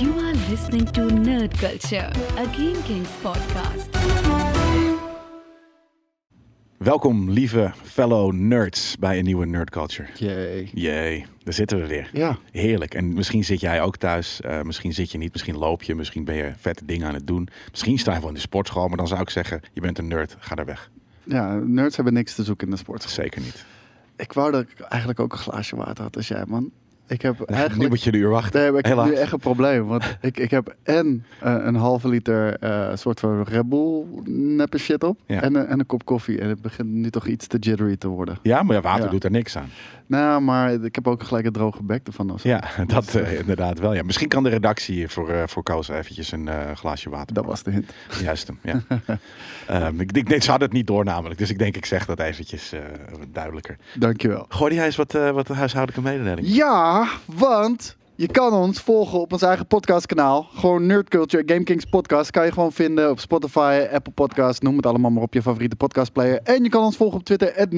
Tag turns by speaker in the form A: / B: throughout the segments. A: You are listening to Nerd Culture, a Game Kings podcast.
B: Welkom, lieve fellow nerds, bij een nieuwe Nerd Culture.
C: Jee.
B: Jee, daar zitten we weer.
C: Ja.
B: Heerlijk. En misschien zit jij ook thuis, eh, misschien zit je niet, misschien loop je, misschien ben je vette dingen aan het doen. Misschien sta je wel in de sportschool, maar dan zou ik zeggen, je bent een nerd, ga daar weg.
C: ja, nerds hebben niks te zoeken in de sport.
B: Zeker niet.
C: Ik wou dat ik eigenlijk ook een glaasje water had als jij, man. Ik heb
B: Nu
C: eigenlijk...
B: moet je een uur wachten.
C: Nee, maar ik heb
B: Helaas.
C: nu echt een probleem. Want ik, ik heb en eh, een halve liter eh, soort van Red Bull neppe shit op.
B: Ja.
C: En, een- en een kop koffie. En het begint nu toch iets te jittery te worden.
B: Ja, maar ja, water
C: Ja.
B: doet er niks aan.
C: Nou, maar ik heb ook gelijk een droge bek ervan. of zo. Dus,
B: Ja, dat eh, inderdaad wel. Ja. Misschien kan de redactie voor, eh voor Koos eventjes een eh, glaasje water
C: Dat was de hint.
B: Juist hem, ja. Ehm, ik, ik, ze hadden het niet door namelijk, dus ik denk ik zeg dat eventjes eh, duidelijker.
C: Dankjewel.
B: Gooi jij eens wat, eh, wat huishoudelijke mededelingen.
C: Ja, want je kan ons volgen op ons eigen podcastkanaal. Gewoon Nerd Culture, Game Kings Podcast. Kan je gewoon vinden op Spotify, Apple Podcasts. Noem het allemaal maar op je favoriete podcastplayer. En je kan ons volgen op Twitter, at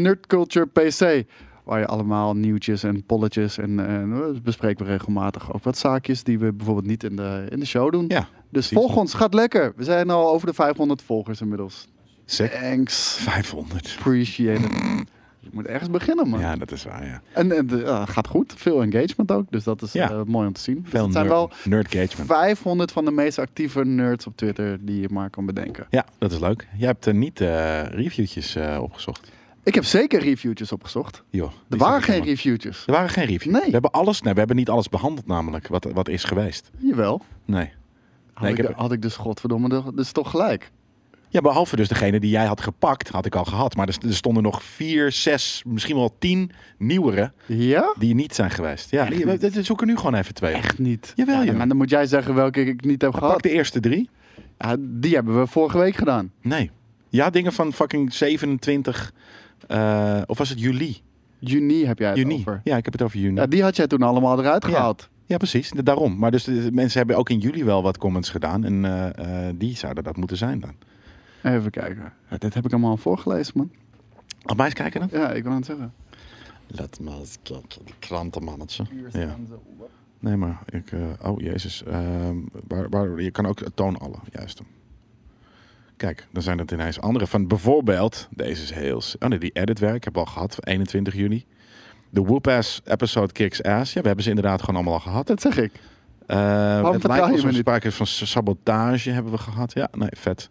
C: NerdCulturePC. Waar je allemaal nieuwtjes en polletjes en, en eh, bespreken we regelmatig ook wat zaakjes die we bijvoorbeeld niet in de, in de show doen.
B: Ja,
C: dus
B: precies.
C: volg ons, gaat lekker. We zijn al over de 500 volgers inmiddels.
B: Zeg,
C: Thanks,
B: 500.
C: appreciate it. Je moet ergens beginnen, man.
B: Ja, dat is waar, ja.
C: En het eh, gaat goed. Veel engagement ook. Dus dat is
B: Ja.
C: eh, mooi om te zien. Dus
B: Veel
C: het zijn wel
B: nerd, nerd engagement.
C: 500 van de meest actieve nerds op Twitter die je maar kan bedenken.
B: Ja, dat is leuk. Jij hebt er niet eh, reviewtjes eh, opgezocht.
C: Ik heb zeker reviewtjes opgezocht.
B: Joh, die
C: Er
B: zag
C: waren
B: ik
C: geen
B: helemaal.
C: reviewtjes.
B: Er waren geen reviews.
C: Nee.
B: We hebben alles, nee, we hebben niet alles behandeld namelijk, wat, wat is geweest.
C: Jawel.
B: Nee.
C: Had,
B: Nee, ik
C: ik,
B: heb-
C: had ik dus godverdomme de- dus toch gelijk.
B: Ja, behalve dus degene die jij had gepakt, had ik al gehad. Maar er st- er stonden nog vier, zes, misschien wel tien nieuwere
C: Ja?
B: die niet zijn geweest. Ja, die, we, we zoeken nu gewoon even twee. op.
C: Echt niet.
B: Jawel,
C: Ja,
B: joh.
C: Maar dan moet jij zeggen welke ik niet heb
B: Pak
C: gehad.
B: de eerste drie.
C: Ja, die hebben we vorige week gedaan.
B: Nee. Ja, dingen van fucking 27. eh, of was het juli?
C: Juni heb jij het
B: Juni.
C: over.
B: Ja, ik heb het over juni.
C: Ja, die had jij toen allemaal eruit
B: Ja.
C: gehaald.
B: Ja, precies. Da- Daarom. Maar dus de- de mensen hebben ook in juli wel wat comments gedaan. En eh, eh, die zouden dat moeten zijn dan.
C: Even kijken. Ja, dit heb ik allemaal voorgelezen, man.
B: Laat mij eens kijken dan.
C: Ja, ik wil aan het zeggen.
B: Laat mij eens kijken. Krantenmannetje. Ja. Nee, maar ik... eh, oh, jezus. Ehm, waar, waar, je kan ook toon alle. Juist. Kijk, dan zijn het ineens andere. Van bijvoorbeeld... Deze is heel... s- Oh nee, die editwerk heb ik al gehad. 21 juni. De Whoop-ass episode kicks ass. Ja, we hebben ze inderdaad gewoon allemaal al gehad.
C: Dat zeg ik.
B: Eh het
C: vertrouw
B: lijkt
C: je
B: alsof
C: me
B: er
C: niet?
B: sprake is van s- sabotage hebben we gehad. Ja, nee, vet.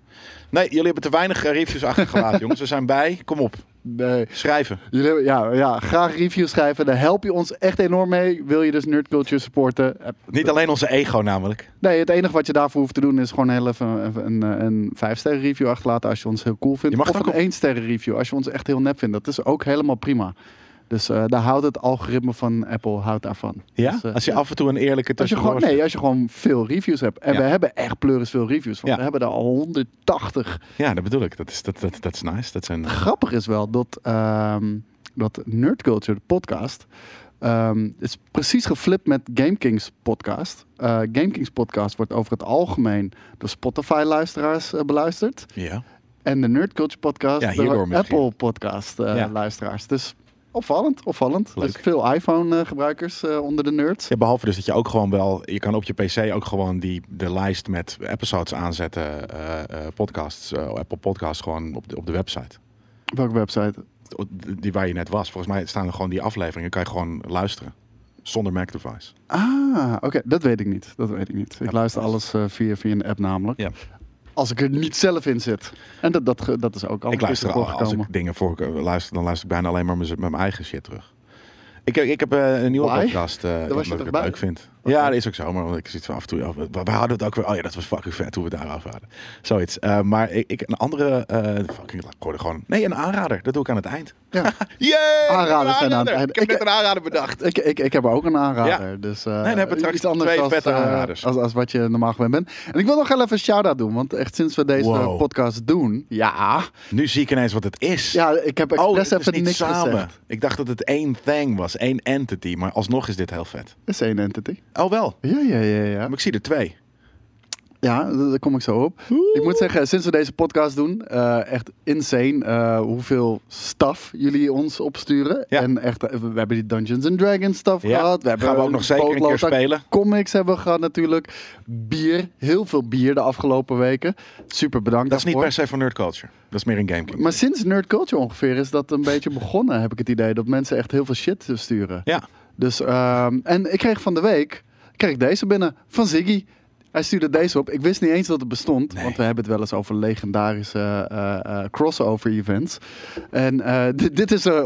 B: Nee, jullie hebben te weinig eh, reviews achtergelaten, jongens. We zijn bij. Kom op,
C: Nee.
B: schrijven.
C: Jullie hebben- ja, ja, graag reviews schrijven. Daar help je ons echt enorm mee. Wil je dus Nerd Culture supporten? Eh,
B: Niet alleen onze ego namelijk.
C: Nee, het enige wat je daarvoor hoeft te doen is gewoon heel even een, een, een 5-sterren review achterlaten als je ons heel cool vindt.
B: Je mag
C: of
B: ook
C: een
B: op-
C: 1-sterren review als je ons echt heel nep vindt. Dat is ook helemaal prima. Dus eh, daar houdt het algoritme van Apple houdt daarvan.
B: Ja?
C: Dus, eh,
B: als je af en toe een eerlijke
C: als je, gewoon,
B: tussendoor...
C: nee, als je gewoon veel reviews hebt. En
B: Ja.
C: we hebben echt pleuris veel reviews. Want
B: Ja.
C: we hebben er al 180.
B: Ja, dat bedoel ik. Dat is, dat, dat, dat is nice. Dat zijn... eh,
C: grappig is wel dat, ehm dat Nerd Culture, de podcast, ehm, is precies geflipt met Game Kings podcast. Eh Game Kings podcast wordt over het algemeen door Spotify-luisteraars eh, beluisterd.
B: Ja.
C: En de Nerd Culture podcast
B: Ja, hierdoor
C: door
B: misschien.
C: Apple
B: Ja.
C: podcast-luisteraars. Dus opvallend, opvallend.
B: Leuk.
C: Dus veel iPhone-gebruikers eh, onder de nerds.
B: ja. Behalve dus dat je ook gewoon wel... Je kan op je pc ook gewoon die, de lijst met episodes aanzetten. eh, eh, podcasts, eh, Apple Podcasts, gewoon op de, op de website.
C: Welke website?
B: Die waar je net was. Volgens mij staan er gewoon die afleveringen. Kan je gewoon luisteren. Zonder Mac device.
C: Ah, oké, dat weet ik niet. Dat weet ik niet. Ik
B: Ja,
C: luister
B: dat
C: alles eh, via, via een app namelijk.
B: Ja.
C: Als ik er niet zelf in zit. En dat, dat, ge- dat is ook al
B: Ik
C: een keertje
B: luister al, als ik
C: voorgekomen.
B: dingen voor eh, luister, dan luister ik bijna alleen maar mez- met mijn eigen shit terug. Ik, heb- ik heb eh, een nieuwe
C: Why?
B: podcast eh, omdat
C: was je
B: ik
C: toch
B: het
C: bij?
B: leuk vind.
C: Oké.
B: Ja, dat is ook zo, maar omdat ik zit van af en toe. ja, we, we hadden het ook weer. Oh ja, dat was fucking vet hoe we het daarover hadden. Zoiets. Eh, maar ik, ik een andere. eh fucking, ik hoorde gewoon. Nee, een aanrader. Dat doe ik aan het eind.
C: Ja.
B: Yay!
C: Aanraders
B: een
C: zijn aan het eind.
B: Ik heb
C: Ik-
B: net een aanrader bedacht.
C: Ik, ik, ik heb ook een aanrader. Dus, eh,
B: dan hebben we straks
C: iets anders
B: twee
C: als,
B: vette
C: eh,
B: aanraders.
C: als, als wat je normaal gewend bent. En ik wil nog heel even een shout-out doen. Want echt sinds we deze
B: Wow.
C: podcast doen. Ja.
B: Nu zie ik ineens wat het is.
C: Ja, ik heb
B: Oh,
C: expres
B: het is
C: even
B: niet
C: niks
B: samen.
C: gezegd.
B: Ik dacht dat het één thing was, één entity, maar alsnog is dit heel vet.
C: Dat is één entity.
B: Oh wel,
C: Ja, ja, ja, ja.
B: maar ik zie er twee.
C: Ja, d- daar kom ik zo op. Ik moet zeggen, sinds we deze podcast doen, eh, echt insane eh, hoeveel staf jullie ons opsturen.
B: Ja.
C: En echt, eh, we we hebben die Dungeons and Dragons stuff
B: Ja.
C: gehad. We hebben
B: Gaan we ook
C: een
B: nog zeker een keer
C: pootlood aan
B: spelen.
C: Comics hebben we gehad natuurlijk. Bier, heel veel bier de afgelopen weken. Super bedankt
B: Dat is niet
C: daarvoor.
B: per se van nerd culture. Dat is meer in gaming.
C: Maar sinds Nerd Culture ongeveer is dat een beetje begonnen, heb ik het idee. Dat mensen echt heel veel shit sturen.
B: Ja.
C: Dus, ehm, en ik kreeg van de week kreeg ik deze binnen van Ziggy. Hij stuurde deze op. Ik wist niet eens dat het bestond. Want we hebben het wel eens over legendarische eh, eh, crossover events. En eh, dit- dit is er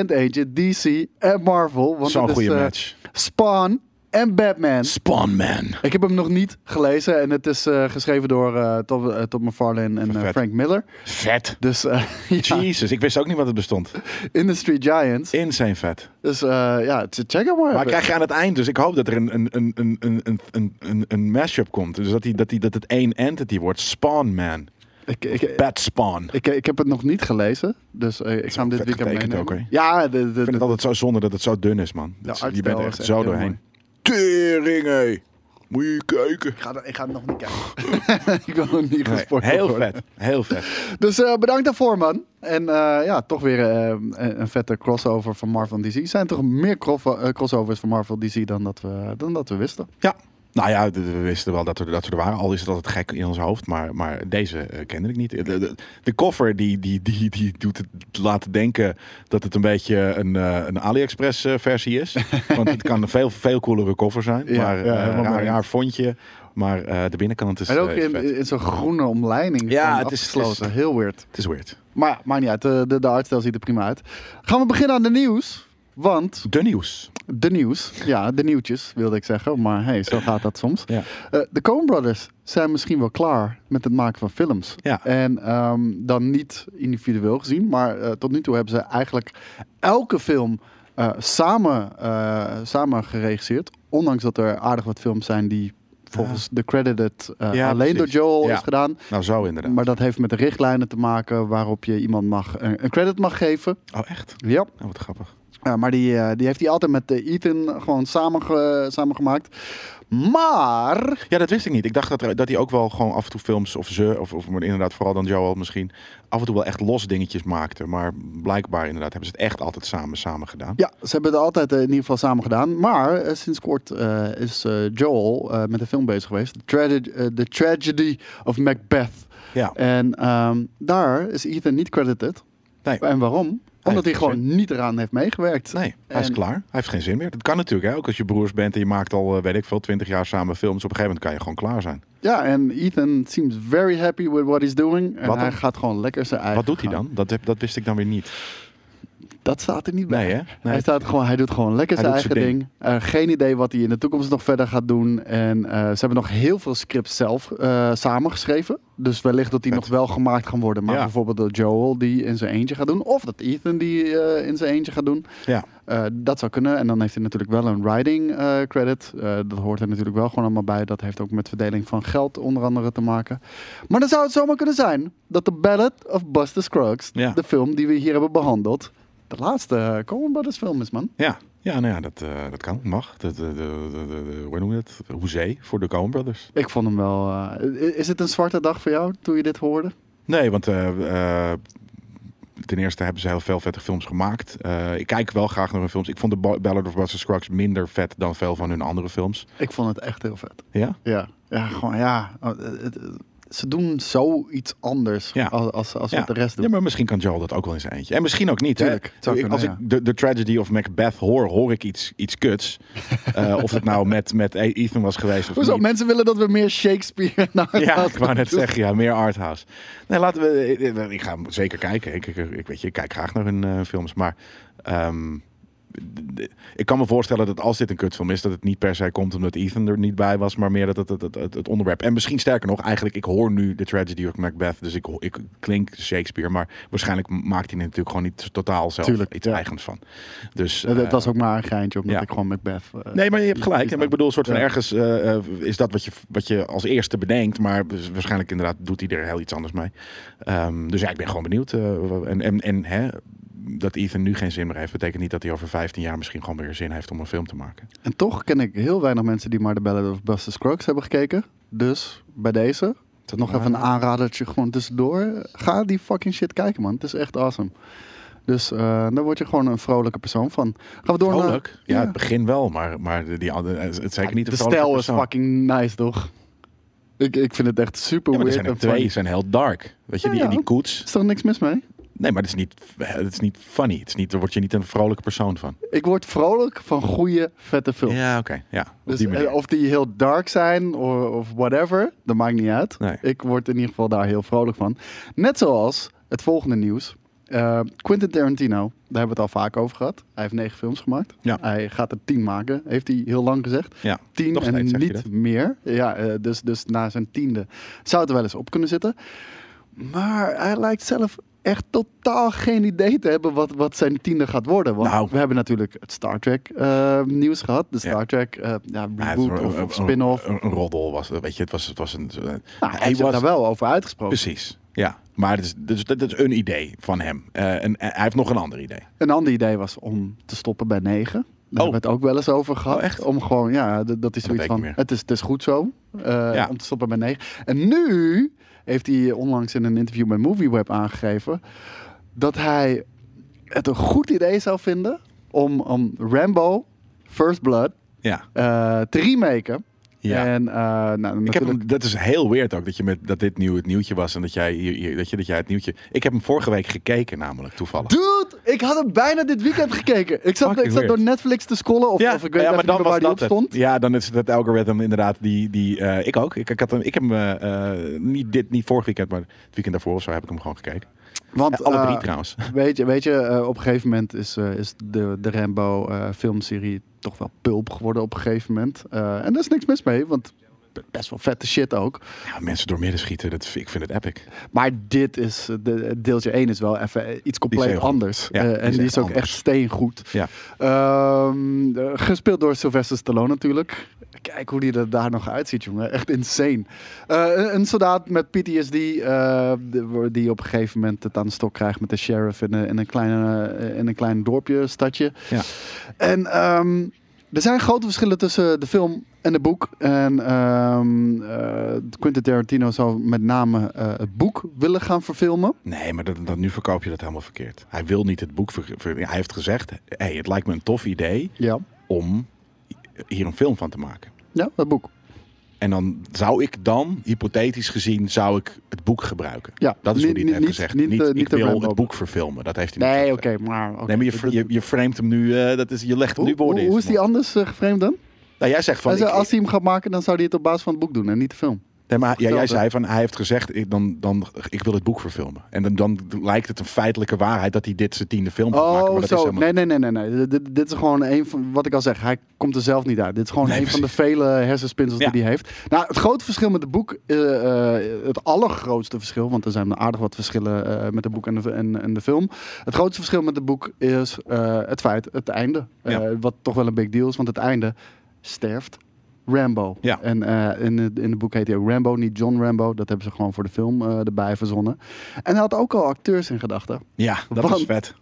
C: 100% eentje. DC en Marvel. Want
B: Zo'n
C: het is,
B: goede
C: eh,
B: match.
C: Spawn en Batman.
B: Spawn Man.
C: Ik heb hem nog niet gelezen. En het is eh, geschreven door eh Tom, eh, Tom McFarlane en eh,
B: Vet.
C: Frank Miller.
B: Vet.
C: Dus eh, ja,
B: Jesus, ik wist ook niet wat het bestond.
C: Industry Giants.
B: Insane vet.
C: Dus eh, ja, t- check hem maar.
B: Maar
C: even.
B: krijg je aan het eind, dus ik hoop dat er een, een, een, een, een, een, een, een mashup komt. Dus dat, die, dat, die, dat het één entity wordt. Spawn Man.
C: Ik- ik,
B: Bat Spawn. Ik
C: Ik, ik heb het nog niet gelezen, dus eh, ik ga hem dit
B: vet
C: weekend
B: getekend
C: meenemen.
B: ook, hè?
C: ja, de, de,
B: vind het
C: de-
B: altijd zo zonde dat het zo dun is, man. Dat is- je
C: artstijl
B: bent er
C: is
B: echt
C: echt
B: zo
C: heel
B: doorheen. Tering, hé. Moet je kijken.
C: ik, ga, ik ga het nog niet kijken. ik wil nog niet
B: Nee,
C: gesport
B: heel
C: worden.
B: vet. Heel vet.
C: Dus eh, bedankt daarvoor, man. En eh, ja, toch weer eh, een, een vette crossover van Marvel en DC. Er zijn toch meer crof- eh, crossovers van Marvel en DC dan dat we, dan dat we wisten.
B: Ja. Nou ja, d- we wisten wel dat we, dat we er waren. Al is het altijd gek in ons hoofd. Maar, maar deze eh, kende ik niet. De, de, de cover die, die, die, die doet het laten denken dat het een beetje een, eh, een AliExpress eh, versie is. Want het kan een veel, veel coolere cover zijn.
C: Ja,
B: maar eh
C: ja, helemaal
B: een raar,
C: mee.
B: raar vondje. Maar eh, de binnenkant is,
C: En ook
B: eh, is
C: in,
B: vet.
C: in zo'n groene omleiding.
B: Ja,
C: gewoon
B: het is-
C: afgesloten.
B: het is-
C: Heel weird.
B: Het is weird.
C: Maar ja, maakt niet uit. De, de, de artstijl ziet er prima uit. Gaan we beginnen aan de nieuws. Want
B: De nieuws.
C: De nieuws. Ja, de nieuwtjes wilde ik zeggen. Maar hey, zo gaat dat soms.
B: Ja.
C: Eh, de Coen Brothers zijn misschien wel klaar met het maken van films.
B: Ja.
C: En ehm, dan niet individueel gezien. Maar eh, tot nu toe hebben ze eigenlijk elke film eh, samen, eh, samen geregisseerd. Ondanks dat er aardig wat films zijn die volgens de credited eh,
B: Ja,
C: alleen
B: precies.
C: door Joel
B: Ja.
C: is gedaan.
B: Nou, zo inderdaad.
C: Maar dat heeft met de richtlijnen te maken waarop je iemand mag, eh, een, een credit mag geven.
B: Oh, echt?
C: Ja.
B: Nou, wat grappig.
C: Ja, maar die, eh, die heeft hij altijd met eh, Ethan gewoon samen, samengemaakt. Maar
B: Ja, dat wist ik niet. Ik dacht dat, er- dat hij ook wel gewoon af en toe films of ze, of, of maar inderdaad vooral dan Joel misschien, af en toe wel echt los dingetjes maakte. Maar blijkbaar inderdaad hebben ze het echt altijd samen, samen gedaan.
C: ja, ze hebben het altijd eh, in ieder geval samen gedaan. Maar eh, sinds kort eh, is eh, Joel eh, met een film bezig geweest. The, Trage- eh, The Tragedy of Macbeth.
B: Ja,
C: En ehm, daar is Ethan niet credited.
B: Nee.
C: En waarom? Omdat hij
B: heeft
C: gewoon niet eraan heeft meegewerkt.
B: nee, hij is
C: En-
B: klaar. Hij heeft geen zin meer. Dat kan natuurlijk, hè? ook als je broers bent en je maakt al, eh, weet ik veel, twintig jaar samen films. Op een gegeven moment kan je gewoon klaar zijn.
C: Ja, en Ethan seems very happy with what he's doing. En
B: Wat
C: hij
B: dan?
C: gaat gewoon lekker zijn eigen
B: Wat doet hij
C: gang.
B: dan? Dat, heb- dat wist ik dan weer niet.
C: Dat staat er niet bij.
B: Nee, hè? Nee.
C: Hij, staat gewoon, hij doet gewoon lekker
B: Hij
C: zijn
B: doet
C: eigen
B: zijn
C: ding. Eh, geen idee wat hij in de toekomst nog verder gaat doen. En eh, ze hebben nog heel veel scripts zelf eh, samengeschreven. Dus wellicht dat die
B: Vet.
C: nog wel gemaakt gaan worden. Maar
B: Ja.
C: bijvoorbeeld door Joel die in zijn eentje gaat doen. Of dat Ethan die eh, in zijn eentje gaat doen.
B: Ja,
C: Eh, dat zou kunnen. En dan heeft hij natuurlijk wel een writing eh, credit. Eh, dat hoort er natuurlijk wel gewoon allemaal bij. Dat heeft ook met verdeling van geld onder andere te maken. Maar dan zou het zomaar kunnen zijn dat de Ballad of Buster Scruggs,
B: Ja.
C: de film die we hier hebben behandeld, de laatste eh, Coen Brothers film is, man.
B: ja. Ja, nou ja, dat, eh, dat kan, mag. Dat, eh, de- de- de- de- hoe noem je dat? Hoezee voor de Coen Brothers.
C: Ik vond hem wel... eh, is het een zwarte dag voor jou toen je dit hoorde?
B: Nee, want eh, eh, ten eerste hebben ze heel veel vette films gemaakt. Eh, ik kijk wel graag naar hun films. Ik vond de Ba- Ballad of Buster Scruggs minder vet dan veel van hun andere films.
C: Ik vond het echt heel vet.
B: Ja?
C: Ja, ja gewoon ja. Oh, het- het- ze doen zoiets anders
B: Ja.
C: als, als, als
B: Ja.
C: wat de rest doet.
B: ja, maar misschien kan Joel dat ook wel in zijn eentje. En misschien ook niet. hè?
C: Tuurlijk, het zou
B: Ik-
C: kunnen,
B: Als
C: ja.
B: ik de, de Tragedy of Macbeth hoor, hoor ik iets, iets kuts. Eh, of het nou met, met Ethan was geweest of
C: Hoezo?
B: niet.
C: Mensen willen dat we meer Shakespeare naar
B: Ja,
C: huis
B: ik wou net
C: doen.
B: zeggen, ja, meer arthouse. Nee, laten we. ik- ik- Ik ga hem zeker kijken. Ik, ik, ik weet je, ik kijk graag naar hun eh, films. Maar ehm, d- d- ik kan me voorstellen dat als dit een kutfilm is, dat het niet per se komt omdat Ethan er niet bij was, maar meer dat het het, het, het, het onderwerp. En misschien sterker nog, eigenlijk, ik hoor nu de tragedy of Macbeth, dus ik, ho- ik klink Shakespeare, maar waarschijnlijk maakt hij er natuurlijk gewoon niet totaal zelf
C: Tuurlijk,
B: iets
C: ja.
B: eigens van. Dus
C: Het
B: eh,
C: was ook maar een geintje, omdat
B: ja.
C: ik gewoon Macbeth... eh,
B: Nee, maar je hebt gelijk.
C: Is
B: Ja, maar
C: dan-
B: ik bedoel, soort van
C: ja.
B: ergens eh, eh, is dat wat je, wat je als eerste bedenkt. Maar dus waarschijnlijk inderdaad doet hij er heel iets anders mee. Ehm, dus ja, ik ben gewoon benieuwd. eh, en en, en hè, dat Ethan nu geen zin meer heeft, betekent niet dat hij over 15 jaar misschien gewoon weer zin heeft om een film te maken.
C: En toch ken ik heel weinig mensen die maar de Ballad of Buster Scruggs hebben gekeken. Dus bij deze,
B: Dat
C: nog even een aanradertje gewoon tussendoor. Ga die fucking shit kijken, man. Het is echt awesome. Dus eh daar word je gewoon een vrolijke persoon van. Gaan we door
B: Vrolijk?
C: naar...
B: Ja, het begin wel, maar, maar de- die andere, het is zeker niet
C: de
B: een vrolijke
C: stijl is
B: persoon.
C: fucking nice, toch? Ik, ik vind het echt super
B: Ja, maar er zijn
C: weird
B: er
C: en
B: twee,
C: funny.
B: die zijn heel dark. Weet je,
C: Ja,
B: die,
C: ja.
B: die koets.
C: Is er niks mis mee?
B: Nee, maar het is niet, het is niet funny. Het is niet, daar word je niet een vrolijke persoon van.
C: Ik word vrolijk van goede, vette films.
B: Ja, oké. Ja, op
C: Dus,
B: die manier.
C: eh, of die heel dark zijn of, of whatever, dat maakt niet uit.
B: Nee.
C: Ik word in ieder geval daar heel vrolijk van. Net zoals het volgende nieuws. Eh, Quentin Tarantino, daar hebben we het al vaak over gehad. Hij heeft negen films gemaakt.
B: Ja.
C: Hij gaat er tien maken, heeft hij heel lang gezegd.
B: ja.
C: Tien
B: Nog
C: en
B: steeds zeg je
C: niet
B: dat.
C: meer. Ja, eh, dus, dus na zijn tiende zou het er wel eens op kunnen zitten. Maar hij lijkt zelf echt totaal geen idee te hebben wat, wat zijn tiende gaat worden. Want
B: Nou.
C: we hebben natuurlijk het Star Trek eh, nieuws gehad. De Star
B: Ja.
C: Trek eh, ja,
B: Ja, Nou, het
C: reboot
B: was
C: of,
B: een-
C: of spin-off.
B: Een, een roddel was het, weet je. Het was, het was een... Nou,
C: Nou, hij heeft daar wel over uitgesproken.
B: Precies, ja. Maar het is, dit is, dit is een idee van hem. Eh, en, en hij heeft nog een ander idee.
C: Een ander idee was om te stoppen bij negen. Daar
B: Oh.
C: hebben we het ook wel eens over gehad.
B: Oh, echt?
C: Om gewoon, ja, d- dat
B: weet
C: is zoiets
B: ik
C: van,
B: niet meer.
C: het is, het is goed zo. eh,
B: Ja.
C: Om te stoppen bij negen. En nu heeft hij onlangs in een interview bij MovieWeb aangegeven... dat hij het een goed idee zou vinden om, om Rambo First Blood
B: Ja.
C: eh, te remaken.
B: Ja.
C: En eh, nou,
B: Ik heb
C: natuurlijk...
B: hem, dat is heel weird ook, dat, je met, dat dit nieuw het nieuwtje was en dat jij, hier, hier- dat, je, dat jij het nieuwtje... Ik heb hem vorige week gekeken namelijk, toevallig.
C: Dude, ik had hem bijna dit weekend gekeken. Ik zat,
B: Fucking
C: ik zat door
B: weird.
C: Netflix te scrollen of, of ik weet
B: ja,
C: even niet meer waar die op
B: dat
C: stond.
B: het. Ja, dan is het het algoritme inderdaad die... die eh, ik ook. Ik, ik, had hem, ik heb hem eh, eh, niet, dit, niet vorig weekend, maar het weekend daarvoor of zo heb ik hem gewoon gekeken.
C: Want,
B: Ja, alle drie
C: eh,
B: trouwens.
C: Weet je, weet je eh, op een gegeven moment is, eh, is de, de Rambo eh, filmserie toch wel pulp geworden op een gegeven moment. Eh, en daar is niks mis mee, want b- best wel vette shit ook.
B: Ja, mensen door midden schieten, dat, ik vind het epic.
C: Maar dit is, eh, de, deeltje 1 is wel even eh, iets compleet
B: heel goed.
C: anders.
B: Ja,
C: Eh,
B: die
C: en
B: is
C: die
B: echt
C: is ook
B: anders.
C: echt steengoed.
B: Ja.
C: Ehm, eh, gespeeld door Sylvester Stallone natuurlijk. Kijk hoe die er daar nog uitziet, jongen. Echt insane. Eh, een- een soldaat met PTSD eh, de- die op een gegeven moment het aan de stok krijgt met de sheriff in een, in een, kleine, eh, in een klein dorpje, stadje.
B: Ja.
C: En ehm, er zijn grote verschillen tussen de film en het boek. En ehm, eh, Quentin Tarantino zou met name eh, het boek willen gaan verfilmen.
B: Nee, maar dat, dat, nu verkoop je dat helemaal verkeerd. Hij wil niet het boek... Ver, ver- hij heeft gezegd, hey, het lijkt me een tof idee
C: Ja,
B: om hier een film van te maken.
C: ja het boek.
B: En dan zou ik dan, hypothetisch gezien, zou ik het boek gebruiken.
C: Ja.
B: Dat is hoe hij
C: Niet-
B: het heeft
C: niet-
B: gezegd.
C: niet,
B: Niet,
C: eh, niet
B: ik
C: de
B: wil
C: Rambo.
B: het boek verfilmen. Dat heeft hij niet
C: Nee, oké,
B: gezegd.
C: maar... oké.
B: Nee, maar je, fr- je, je framet hem nu, eh, dat is, je legt hem
C: Hoe,
B: nu woorden
C: hoe,
B: in
C: hoe is
B: zijn
C: die
B: mond.
C: anders eh, geframed dan?
B: Nou, jij zegt van,
C: Hij zei,
B: ik-
C: als hij hem gaat maken, dan zou hij het op basis van het boek doen en niet de film.
B: Nee, maar ja, jij
C: Verteld,
B: zei van hij heeft gezegd, ik, dan, dan, ik wil het boek verfilmen. En dan, dan lijkt het een feitelijke waarheid dat hij dit zijn tiende film gaat maken.
C: Oh,
B: Maar dat is
C: zo.
B: helemaal...
C: Nee, nee, nee, nee. nee. Dit- Dit, dit is gewoon een van, wat ik al zeg, hij komt er zelf niet uit. Dit is gewoon
B: Nee,
C: een van de vele hersenspinsels
B: Ja.
C: die hij heeft. Nou, het grote verschil met het boek, eh, eh, het allergrootste verschil, want er zijn aardig wat verschillen eh, met het boek en de, en, en de film. Het grootste verschil met het boek is eh, het feit, het einde. Eh,
B: Ja.
C: wat toch wel een big deal is, want het einde sterft. Rambo.
B: Ja.
C: En eh, in, het, in het boek heet hij ook Rambo, niet John Rambo. Dat hebben ze gewoon voor de film eh, erbij verzonnen. En hij had ook al acteurs in gedachten.
B: Ja, dat
C: Want-
B: is vet.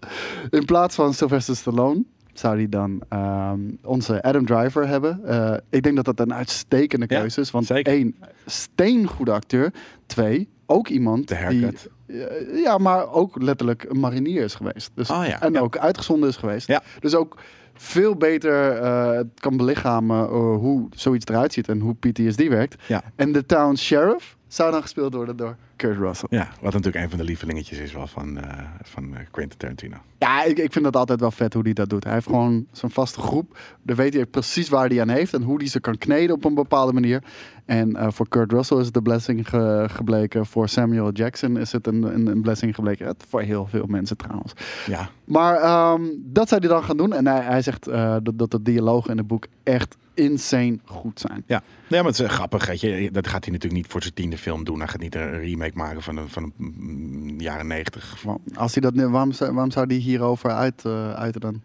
C: In plaats van Sylvester Stallone zou hij dan ehm, onze Adam Driver hebben. Eh, ik denk dat dat een uitstekende
B: Ja,
C: keuze is. Want
B: zeker.
C: één, steengoede acteur. Twee, ook iemand
B: De
C: die...
B: haircut.
C: eh, Ja, maar ook letterlijk een marinier is geweest. Dus,
B: Ah, ja,
C: en
B: ja.
C: ook uitgezonden is geweest.
B: Ja.
C: Dus ook veel beter eh, kan belichamen eh, hoe zoiets eruit ziet en hoe PTSD werkt.
B: Ja.
C: En de town sheriff zou dan gespeeld worden door Kurt Russell.
B: ja, wat natuurlijk een van de lievelingetjes is wel van, eh, van eh, Quentin Tarantino.
C: Ja, ik, ik vind dat altijd wel vet hoe hij dat doet. Hij heeft gewoon zo'n vaste groep. Dan weet hij precies waar hij aan heeft en hoe hij ze kan kneden op een bepaalde manier. En eh, voor Kurt Russell is het een blessing ge- gebleken. Voor Samuel Jackson is het een, een, een blessing gebleken. Het- voor heel veel mensen trouwens.
B: Ja,
C: Maar ehm, dat zou hij dan gaan doen. En hij, hij zegt eh, dat, dat de dialogen in het boek echt insane goed zijn.
B: ja. Nee, maar het is eh, grappig. Weet je. Dat gaat hij natuurlijk niet voor zijn tiende film doen. Hij gaat niet een remake maken van een, van een mm, jaren negentig.
C: Wa- Als hij dat, waarom, zou- waarom zou hij hierover uit, eh uiten dan?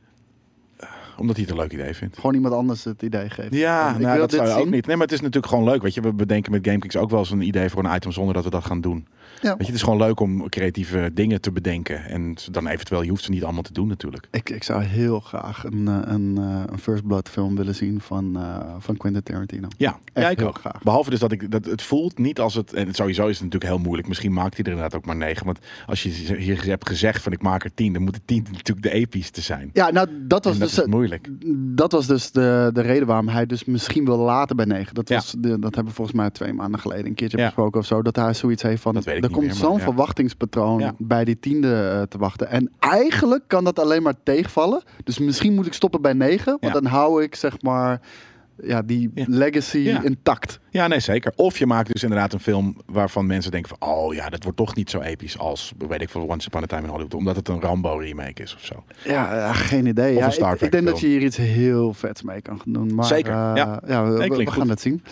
B: Omdat hij het een leuk idee vindt.
C: Gewoon iemand anders het idee geven.
B: Ja,
C: Ik
B: nou,
C: wil
B: dat
C: dit
B: zou je ook
C: zien.
B: niet. Nee, maar het is natuurlijk gewoon leuk. Weet je, we bedenken met GameKings ook wel eens een idee voor een item zonder dat we dat gaan doen.
C: Ja.
B: Weet je, het is gewoon leuk om creatieve dingen te bedenken. En ze dan eventueel, je hoeft ze niet allemaal te doen natuurlijk.
C: Ik, ik zou heel graag een, eh, een, eh, een First Blood film willen zien van, eh, van Quentin Tarantino.
B: Ja,
C: Echt
B: ja ik
C: heel
B: ook.
C: graag.
B: Behalve dus dat ik dat het voelt niet als het. En sowieso is het natuurlijk heel moeilijk. Misschien maakt hij er inderdaad ook maar negen. Want als je hier hebt gezegd van ik maak er tien, dan moet het tien natuurlijk de epischste zijn.
C: Ja, nou, dat was
B: en dat
C: dus...
B: is moeilijk.
C: dat was dus de, de reden waarom hij dus misschien wel later bij 9. Dat,
B: Ja.
C: was de, dat hebben we volgens mij twee maanden geleden een keertje
B: Ja.
C: besproken of zo. Dat hij zoiets heeft van,
B: Dat weet ik
C: er
B: niet
C: komt
B: meer, maar
C: zo'n
B: ja.
C: verwachtingspatroon
B: Ja.
C: bij die tiende eh, te wachten. En eigenlijk kan dat alleen maar tegenvallen. Dus misschien moet ik stoppen bij 9, want
B: Ja.
C: dan hou ik zeg maar ja, die
B: Ja.
C: legacy
B: Ja.
C: intact.
B: Ja, nee, zeker. Of je maakt dus inderdaad een film waarvan mensen denken van... oh ja, dat wordt toch niet zo episch als, weet ik veel, Once Upon a Time in Hollywood. Omdat het een Rambo-remake is of zo.
C: Ja, ja, geen idee.
B: Of
C: Ja,
B: een
C: ik,
B: Star
C: ik
B: Trek
C: denk dat je
B: film.
C: hier iets heel vets mee kan doen. Maar,
B: Zeker,
C: eh,
B: ja.
C: we- we,
B: klinkt
C: gaan
B: goed.
C: het zien.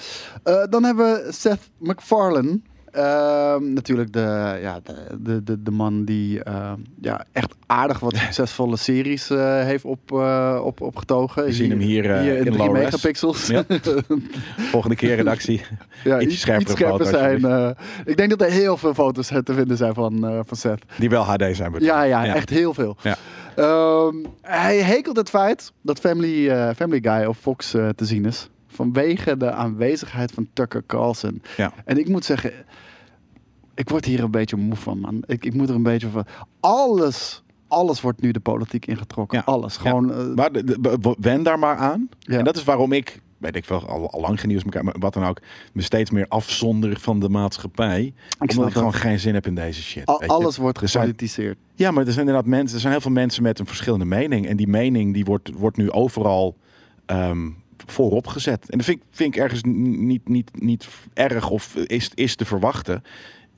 C: Eh, dan hebben we Seth MacFarlane. Ehm, natuurlijk de, ja, de, de, de, de man die eh, ja, echt aardig wat succesvolle series eh, heeft op, eh, op, opgetogen.
B: We zien hem hier, eh, in
C: in 3
B: low res.
C: megapixels.
B: Ja.
C: Ja.
B: Volgende keer redactie. Iets scherpere foto,
C: zijn. eh, ik denk dat er heel veel foto's te vinden zijn van, eh, van Seth.
B: Die wel HD zijn. bedoel ik.
C: Ja, ja, echt heel veel.
B: Ja.
C: Ehm, hij hekelt het feit dat Family, eh, Family Guy op Fox eh, te zien is. Vanwege de aanwezigheid van Tucker Carlson.
B: Ja.
C: En ik moet zeggen, ik word hier een beetje moe van, man. Ik, ik moet er een beetje van. Alles, alles wordt nu de politiek ingetrokken.
B: Ja.
C: Alles.
B: Ja.
C: Gewoon. eh,
B: Maar de- de- be- be- wen daar maar aan.
C: Ja.
B: En dat is waarom ik, weet ik wel, al, al lang genieuws elkaar, maar wat dan ook, me steeds meer afzonder van de maatschappij. omdat
C: snap
B: ik gewoon
C: dat.
B: geen zin heb in deze shit.
C: al-
B: weet je.
C: alles wordt
B: Er zijn-
C: gepolitiseerd.
B: Ja, maar er zijn inderdaad mensen, er zijn heel veel mensen met een verschillende mening. En die mening die wordt, wordt nu overal ehm, voorop gezet. En dat vind, ik- vind ik ergens n- niet, niet, niet erg of is, is te verwachten.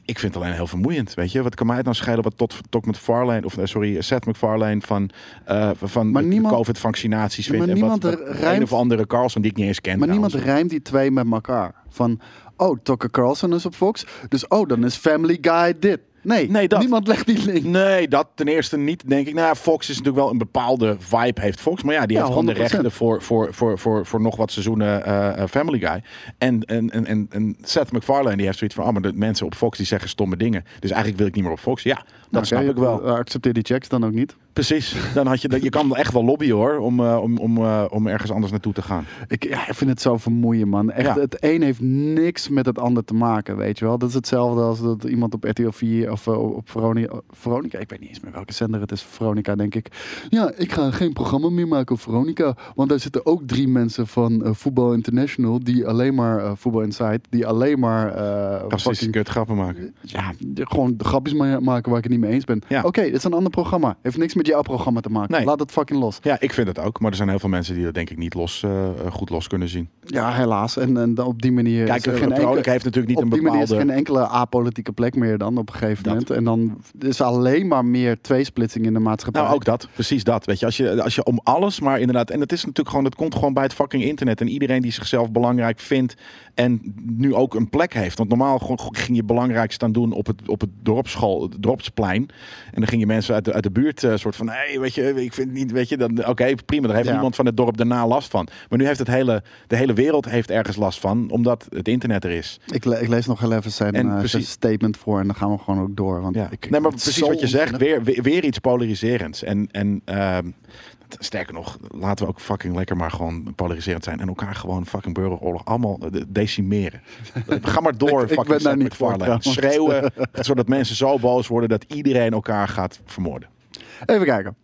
B: Ik vind het alleen heel vermoeiend, weet je. Wat kan mij het nou schelen wat tot, tot McFarlane, of eh, sorry, Seth MacFarlane van, eh, van
C: Maar
B: de
C: niemand-
B: COVID-vaccinaties
C: maar
B: vindt. En wat,
C: niemand
B: wat
C: er
B: de een
C: rijmt-
B: of andere Carlson die ik niet eens ken.
C: Maar niemand
B: trouwens.
C: rijmt die twee met elkaar. Van, oh, Tucker Carlson is op Fox. Dus, oh, dan is Family Guy dit. Nee,
B: Nee, dat.
C: niemand legt die link.
B: Nee, dat ten eerste niet, denk ik. Nou ja, Fox is natuurlijk wel een bepaalde vibe heeft Fox. Maar ja, die
C: Ja,
B: heeft gewoon de
C: 100%.
B: rechten voor, voor, voor, voor, voor nog wat seizoenen eh, eh, Family Guy. En, en, en- en, en Seth MacFarlane die heeft zoiets van... ah, maar de mensen op Fox die zeggen stomme dingen. Dus eigenlijk wil ik niet meer op Fox. Ja, dat
C: Nou,
B: snap
C: oké,
B: ik wel.
C: eh, Accepteer die checks dan ook niet.
B: Precies. Dan had je, dat- je kan wel echt wel lobbyen hoor, om, eh, om, om, eh, om ergens anders naartoe te gaan.
C: Ik, ja, ik vind het zo vermoeiend, man. Echt,
B: Ja.
C: Het een heeft niks met het ander te maken, weet je wel. Dat is hetzelfde als dat iemand op RTL 4 of eh, op Veronica, Veronica... Ik weet niet eens meer welke zender het is. Veronica, denk ik. Ja, ik ga geen programma meer maken op Veronica. Want daar zitten ook drie mensen van eh, Voetbal International... die alleen maar... eh, Voetbal Insight, die alleen maar... eh,
B: Racistische
C: fucking-
B: kut grappen maken.
C: ja, de- gewoon de grapjes ma- maken waar ik het niet mee eens ben.
B: Ja.
C: Oké, dit is een ander programma. Heeft niks met jouw programma te maken.
B: Nee.
C: Laat het fucking los.
B: Ja, ik vind het ook. Maar er zijn heel veel mensen die dat denk ik niet los, eh, goed los kunnen zien.
C: Ja, helaas. En, en dan op die manier.
B: Kijk,
C: is er
B: de
C: geen
B: vrolijk
C: enkele,
B: heeft natuurlijk
C: op
B: niet
C: die
B: een
C: manier is er
B: bepaalde...
C: geen enkele apolitieke plek meer dan op een gegeven
B: Dat.
C: moment. En dan is er alleen maar meer tweesplitsing in de maatschappij.
B: Nou, ook dat. Precies dat. Weet je, als je, als je om alles, maar inderdaad. En dat is natuurlijk gewoon, dat komt gewoon bij het fucking internet. En iedereen die zichzelf belangrijk vindt en nu ook een plek heeft. Want normaal gewoon ging je belangrijk staan doen op het, op het dorpsschool, het dorpsplein. En dan gingen mensen uit de, uit de buurt eh, soort van, hé, hey, weet je, ik vind het niet, weet je, dan, oké, prima. Daar heeft
C: Ja.
B: niemand van het dorp daarna last van. Maar nu heeft het hele, de hele wereld heeft ergens last van, omdat het internet er is.
C: Ik, le- ik lees nog heel even zijn,
B: En
C: eh,
B: precies-
C: zijn statement voor en dan gaan we gewoon ook door. Want
B: Ja.
C: ik,
B: nee, maar
C: het is
B: precies
C: zo
B: wat je zegt. Weer,
C: onzinnig.
B: weer, weer iets polariserends. En, en ehm, t- sterker nog, laten we ook fucking lekker maar gewoon polariserend zijn. En elkaar gewoon fucking burgeroorlog allemaal eh, de- decimeren. Ga maar door,
C: ik
B: fucking
C: ben daar
B: Seth
C: niet voor,
B: MacFarlane. Schreeuwen, zodat mensen zo boos worden dat iedereen elkaar gaat vermoorden.
C: Even kijken.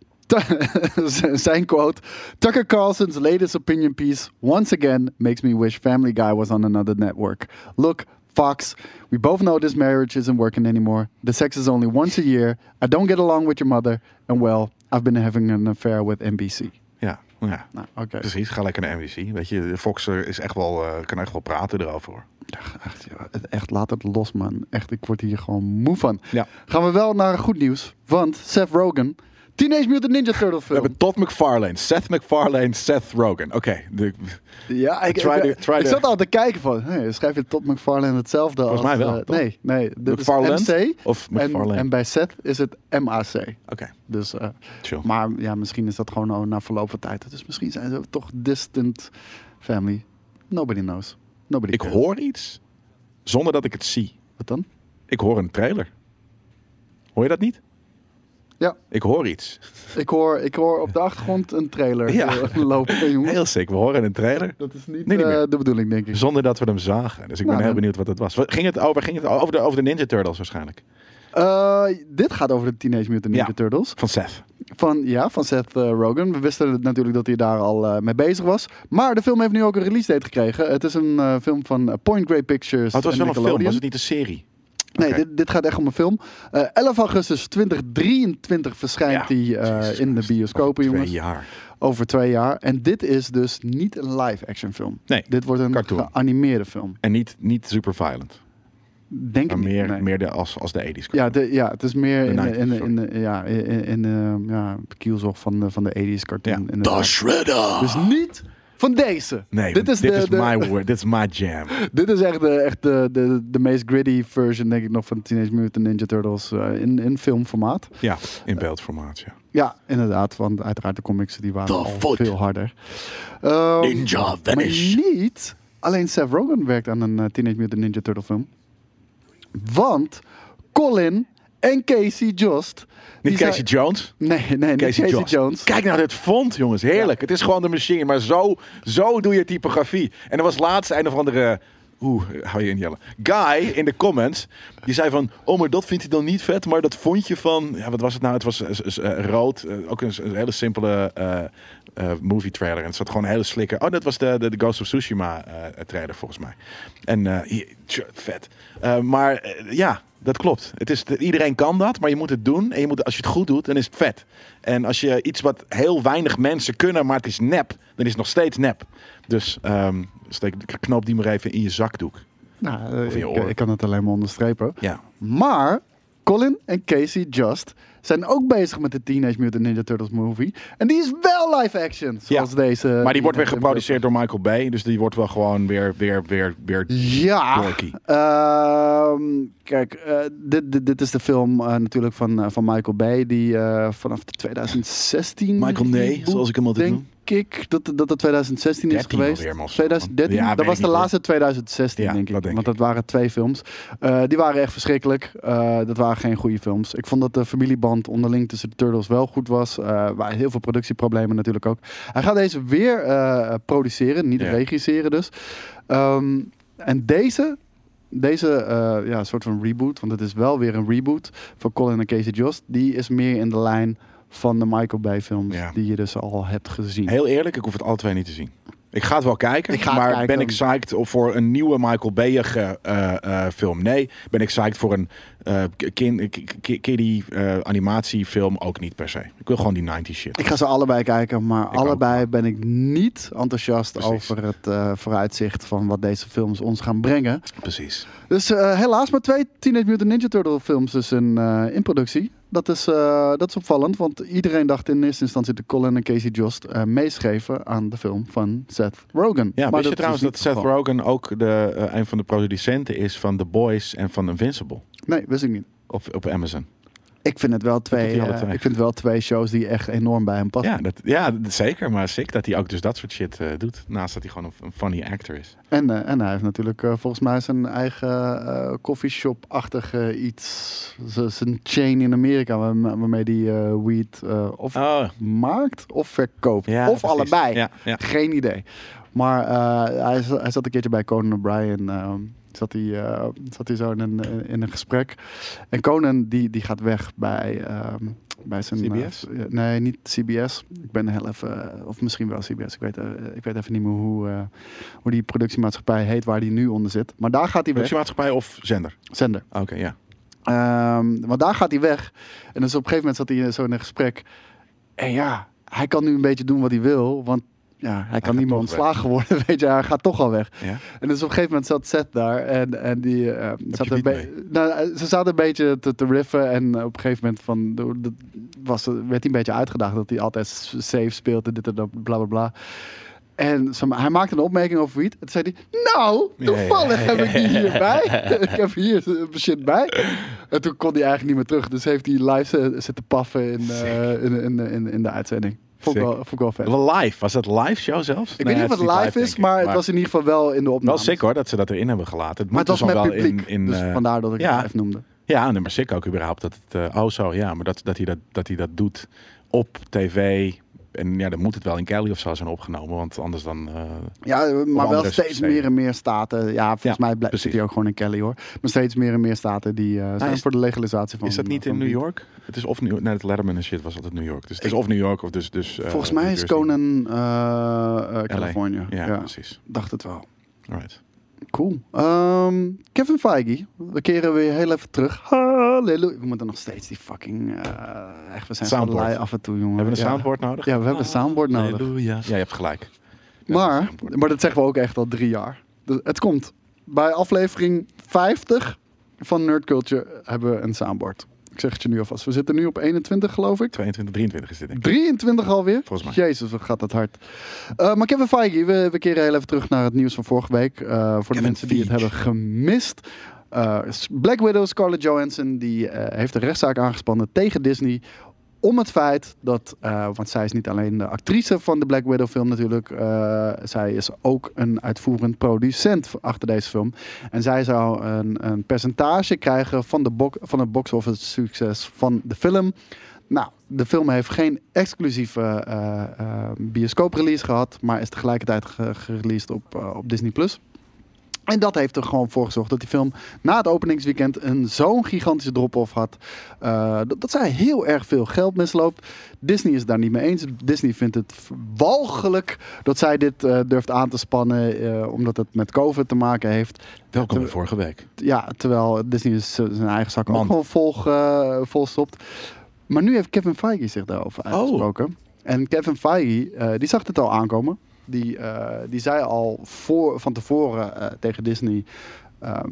C: Z- zijn quote: Tucker Carlson's latest opinion piece once again makes me wish Family Guy was on another network. Look, Fox, we both know this marriage isn't working anymore. The sex is only once a year. I don't get along with your mother. And well, I've been having an affair with NBC.
B: Ja, nou ja.
C: Nou, oké.
B: Precies, ga lekker naar NBC. Weet je, Fox eh, is echt wel, eh, kan echt wel praten erover. hoor.
C: Echt, ja, het- echt, laat het los, man. Echt, ik word hier gewoon moe van.
B: Ja.
C: Gaan we wel naar goed nieuws. Want Seth Rogen Teenage Mutant Ninja Turtle
B: We
C: film.
B: hebben Todd McFarlane, Seth McFarlane, Seth Rogen. Oké, de-
C: Ja, ik,
B: Try
C: ik,
B: to- try
C: ik
B: to-
C: zat al te kijken van, hey, schrijf je Todd McFarlane hetzelfde
B: Volgens
C: als...
B: mij wel,
C: eh,
B: toch?
C: nee, nee. Dit is
B: McFarland
C: MC
B: of
C: en,
B: McFarlane?
C: en bij Seth is het MAC.
B: oké,
C: Dus, eh,
B: chill.
C: maar ja, misschien is dat gewoon al na verloop van tijd. Dus misschien zijn ze toch distant family. Nobody knows. Nobody
B: Ik
C: cares.
B: hoor iets zonder dat ik het zie.
C: Wat dan?
B: Ik hoor een trailer. Hoor je dat niet?
C: Ja,
B: Ik hoor iets.
C: ik hoor, ik hoor op de achtergrond een trailer
B: Ja.
C: eh, lopen, jongen.
B: Heel sick. We horen een trailer
C: Dat is niet,
B: Nee, niet
C: eh,
B: meer.
C: de bedoeling, denk ik.
B: zonder dat we hem zagen. Dus ik
C: Nou,
B: ben heel
C: dan-
B: benieuwd wat het was. Wat- Ging het over, ging het over, de, over de Ninja Turtles waarschijnlijk?
C: Eh, dit gaat over de Teenage Mutant Ninja
B: Ja.
C: Turtles.
B: Van Seth. Oh,
C: Van, ja, van Seth eh, Rogen. We wisten natuurlijk dat hij daar al eh, mee bezig was. Maar de film heeft nu ook een release date gekregen. Het is een eh, film van eh, Point Grey Pictures.
B: Oh, het was
C: en
B: wel een film,
C: Nickelodeon.
B: was het niet een serie?
C: Nee,
B: Oké.
C: dit, dit gaat echt om een film. Eh, 11 augustus 2023 verschijnt
B: Ja.
C: die eh,
B: Jezus
C: in de
B: Christus.
C: bioscopen,
B: Over
C: jongens.
B: Twee jaar.
C: Over twee jaar. En dit is dus niet een live-action film.
B: Nee,
C: Dit wordt een
B: cartoon.
C: geanimeerde film.
B: En niet, niet super violent.
C: Denk ik
B: Maar
C: niet.
B: meer,
C: nee.
B: meer de, als, als de 80s.
C: Ja, de, ja, het is meer in, de-
B: 90s,
C: in, de-
B: sorry.
C: in, de- ja, in, in de ja, kielzog van de, van de 80s
B: Ja.
C: cartoon. inderdaad.
B: Shredder!
C: Dus niet van deze.
B: nee,
C: dit is, de, de-
B: my word. Dit is my jam.
C: dit is echt, de, echt de, de, de meest gritty version, denk ik nog, van Teenage Mutant Ninja Turtles eh, in, in filmformaat.
B: Ja, in beeldformaat, ja.
C: Ja, inderdaad, want uiteraard de comics die waren
B: The
C: al
B: Foot.
C: veel harder. Ehm,
B: Ninja
C: maar
B: Vanish.
C: niet alleen Seth Rogen werkt aan een eh, Teenage Mutant Ninja Turtle film. Want Colin en Casey Jost... die
B: Niet Casey
C: zijn-
B: Jones.
C: Nee, nee, niet Casey,
B: Jones.
C: Jones.
B: Kijk naar dit font, jongens. Heerlijk. Het is gewoon de machine. Maar zo, zo doe je typografie. En er was laatst een of andere... eh, Oeh, hou je in Jelle. Guy in de comments, die zei van... Oh, maar dat vindt hij dan niet vet. Maar dat vond je van... Ja, wat was het nou? Het was eh, s- s- eh, rood. Eh, ook een, s- een hele simpele eh, eh, movie trailer. En het zat gewoon een hele slikker. Oh, dat was de, de, de Ghost of Tsushima eh, trailer volgens mij. En eh, hier, tjo, vet. Eh, maar eh, ja, dat klopt. Het is, iedereen kan dat, maar je moet het doen. En je moet, als je het goed doet, dan is het vet. En als je iets wat heel weinig mensen kunnen, maar het is nep, dan is het nog steeds nep. Dus ehm, steek, knoop die maar even in je zakdoek.
C: Nou, eh,
B: Of in je
C: ik-
B: oor.
C: ik kan het alleen maar onderstrepen.
B: Ja.
C: Maar Colin en Casey Just zijn ook bezig met de Teenage Mutant Ninja Turtles movie. En die is wel live action, zoals
B: Ja,
C: deze. eh,
B: Maar die wordt weer geproduceerd door Michael Bay. Dus die wordt wel gewoon weer, weer, weer, weer.
C: Ja,
B: Dorky.
C: Ehm, kijk, eh, dit, dit, dit is de film eh, natuurlijk van, eh, van Michael Bay, die eh, vanaf 2016...
B: Michael Nay,
C: reboot,
B: zoals ik hem altijd
C: Denk ik dat dat het 2016 is
B: 13
C: geweest.
B: alweer, man.
C: 2013,
B: Ja,
C: dat
B: weet
C: was
B: ik
C: de
B: niet,
C: laatste 2016
B: Ja,
C: denk ik.
B: dat denk
C: Want
B: ik.
C: dat waren twee films. Eh, die waren echt verschrikkelijk. Eh, dat waren geen goede films. Ik vond dat de familieband onderling tussen de Turtles wel goed was. Eh waren heel veel productieproblemen natuurlijk ook. Hij gaat deze weer eh, produceren, niet
B: Ja.
C: regisseren dus. Ehm, en deze, deze eh, ja, soort van reboot, want het is wel weer een reboot van Colin en Casey Jost, die is meer in de lijn van de Michael Bay films
B: Ja.
C: die je dus al hebt gezien.
B: Heel eerlijk, ik hoef het alle twee niet te zien. Ik ga het wel kijken,
C: Ik ga het
B: maar
C: kijken.
B: ben ik psyched voor een nieuwe Michael Bayige eh, eh, film? Nee. Ben ik psyched voor een eh, kin, k- k- kiddie eh, animatiefilm? Ook niet per se. Ik wil gewoon die 90 shit.
C: Ik ga ze allebei kijken, maar
B: ook.
C: allebei ben ik niet enthousiast
B: Precies.
C: over het eh, vooruitzicht van wat deze films ons gaan brengen.
B: Precies.
C: Dus eh, helaas maar twee Teenage Mutant Ninja Turtle films dus in, eh, in productie. Dat is, eh, dat is opvallend, want iedereen dacht in eerste instantie dat Colin en Casey Jost eh, meeschreven aan de film van Seth Rogen.
B: Ja, wist je
C: is dus
B: trouwens
C: niet
B: dat
C: het
B: Seth
C: geval.
B: Rogen ook de, eh, een van de producenten is van The Boys en van Invincible
C: Nee, wist ik niet.
B: op, op Amazon?
C: Ik vind het wel
B: doet
C: twee,
B: hij alle
C: eh,
B: twee.
C: ik vind wel twee shows die echt enorm bij hem passen.
B: Ja, dat, ja, dat- zeker. Maar sick dat hij ook dus dat soort shit eh, doet. Naast dat hij gewoon een, een funny actor is.
C: En, eh, en hij heeft natuurlijk eh, volgens mij zijn eigen eh coffeeshop-achtig eh, iets. Z- Zijn chain in Amerika waar- waarmee hij weed eh, of
B: Oh,
C: maakt of verkoopt.
B: ja,
C: of
B: precies.
C: allebei.
B: Ja, ja.
C: Geen idee. Maar eh, hij, za- hij zat een keertje bij Conan O'Brien. ehm, zat, hij, eh, zat hij zo in een, in een gesprek. En Conan die, die gaat weg bij, ehm, bij zijn...
B: CBS?
C: eh, nee, niet CBS. Ik ben heel even... eh, Of misschien wel CBS. Ik weet, eh, ik weet even niet meer hoe, eh, hoe die productiemaatschappij heet waar die nu onder zit. Maar daar gaat hij weg.
B: Productiemaatschappij of zender?
C: Zender.
B: Oké, ja.
C: Ehm, want daar gaat hij weg. En dus op een gegeven moment zat hij zo in een gesprek. En ja, hij kan nu een beetje doen wat hij wil. Want ja, hij
B: gaat
C: kan niet meer
B: toch
C: ontslagen worden. Weet je, hij gaat toch al weg.
B: ja.
C: En dus op een gegeven moment zat Seth daar. En, en die, eh, zat
B: je
C: een eh,
B: wiet
C: be- nou, ze zaten een beetje te, te riffen. En op een gegeven moment van... de- de- was, werd hij een beetje uitgedaagd dat hij altijd safe speelt en dit en dat, bla bla bla. En zeg maar, hij maakte een opmerking over wiet. En toen zei hij, nou, toevallig heb ik die hierbij. ik heb hier shit bij. En toen kon hij eigenlijk niet meer terug. Dus heeft hij live z- zitten paffen in, eh, in, in, in, in de uitzending. Vond ik
B: Sick.
C: wel, vond ik wel vet.
B: Live, was dat live show zelfs?
C: Ik weet niet of het live is, maar, het was in ieder geval wel in de opname.
B: Wel sick hoor, dat ze dat erin hebben gelaten.
C: Maar het was met
B: wel
C: publiek,
B: in, in,
C: dus
B: eh,
C: vandaar dat ik
B: ja.
C: het even noemde.
B: Ja, nee, maar sick ook überhaupt. Dat het, eh, oh zo, ja, maar dat, dat, hij dat, dat hij dat doet op tv. En ja, dan moet het wel in Cali of zo zijn opgenomen. Want anders dan... eh,
C: Ja, maar wel
B: andere
C: steeds
B: systemen.
C: meer en meer staten. Ja, volgens
B: Ja,
C: mij blijft
B: precies.
C: zit hij ook gewoon in Kelly hoor. Maar steeds meer en meer staten die eh, zijn
B: is-
C: voor de legalisatie van.
B: is dat niet
C: van
B: in New
C: wiet.
B: York? Het is of New York. Nee, het Letterman en shit was altijd New York. Dus het is of New York of dus... dus eh,
C: Volgens mij
B: New
C: is
B: Jersey.
C: Conan eh, eh, California.
B: Ja,
C: Ja,
B: precies.
C: dacht het wel.
B: Alright.
C: Cool. Ehm, Kevin Feige, we keren weer heel even terug. Halleluja. We moeten nog steeds die fucking. eh, echt, we zijn van de
B: Soundboard.
C: lei af en toe, jongen.
B: Hebben we een
C: ja.
B: soundboard nodig?
C: Ja, we hebben een soundboard nodig.
B: Halleluja. Ja, je hebt gelijk. Ja, een
C: Maar,
B: soundboard.
C: maar dat zeggen we ook echt al drie jaar. Dus het komt. Bij aflevering 50 van Nerd Culture hebben we een soundboard. Ik zeg het je nu alvast. We zitten nu op 21, geloof ik.
B: 22, 23 is dit denk ik.
C: 23 alweer?
B: Volgens mij.
C: Jezus, wat gaat dat hard. Eh, maar Kevin Feige, we, we keren heel even terug naar het nieuws van vorige week. Eh, voor de
B: Kevin
C: mensen die het
B: Feige.
C: hebben gemist. Eh, Black Widow Scarlett Johansson die, eh, heeft een rechtszaak aangespannen tegen Disney... Om het feit dat, eh, want zij is niet alleen de actrice van de Black Widow film natuurlijk, eh, zij is ook een uitvoerend producent achter deze film. En zij zou een, een percentage krijgen van, de bok- van het box office succes van de film. Nou, de film heeft geen exclusieve eh, eh, bioscooprelease gehad, maar is tegelijkertijd ge- gereleased op, eh, op Disney+. Plus. En dat heeft er gewoon voor gezorgd dat die film na het openingsweekend een zo'n gigantische drop-off had. eh, dat, dat zij heel erg veel geld misloopt. Disney is het daar niet mee eens. Disney vindt het walgelijk dat zij dit eh, durft aan te spannen, eh, omdat het met COVID te maken heeft
B: Welkom bij vorige week.
C: ja, terwijl Disney z- zijn eigen zak ook
B: Mand.
C: gewoon vol, eh, vol stopt. Maar nu heeft Kevin Feige zich daarover uitgesproken. En Kevin Feige, eh, die zag dit al aankomen. Die, eh, die zei al voor, van tevoren eh, tegen Disney... ehm,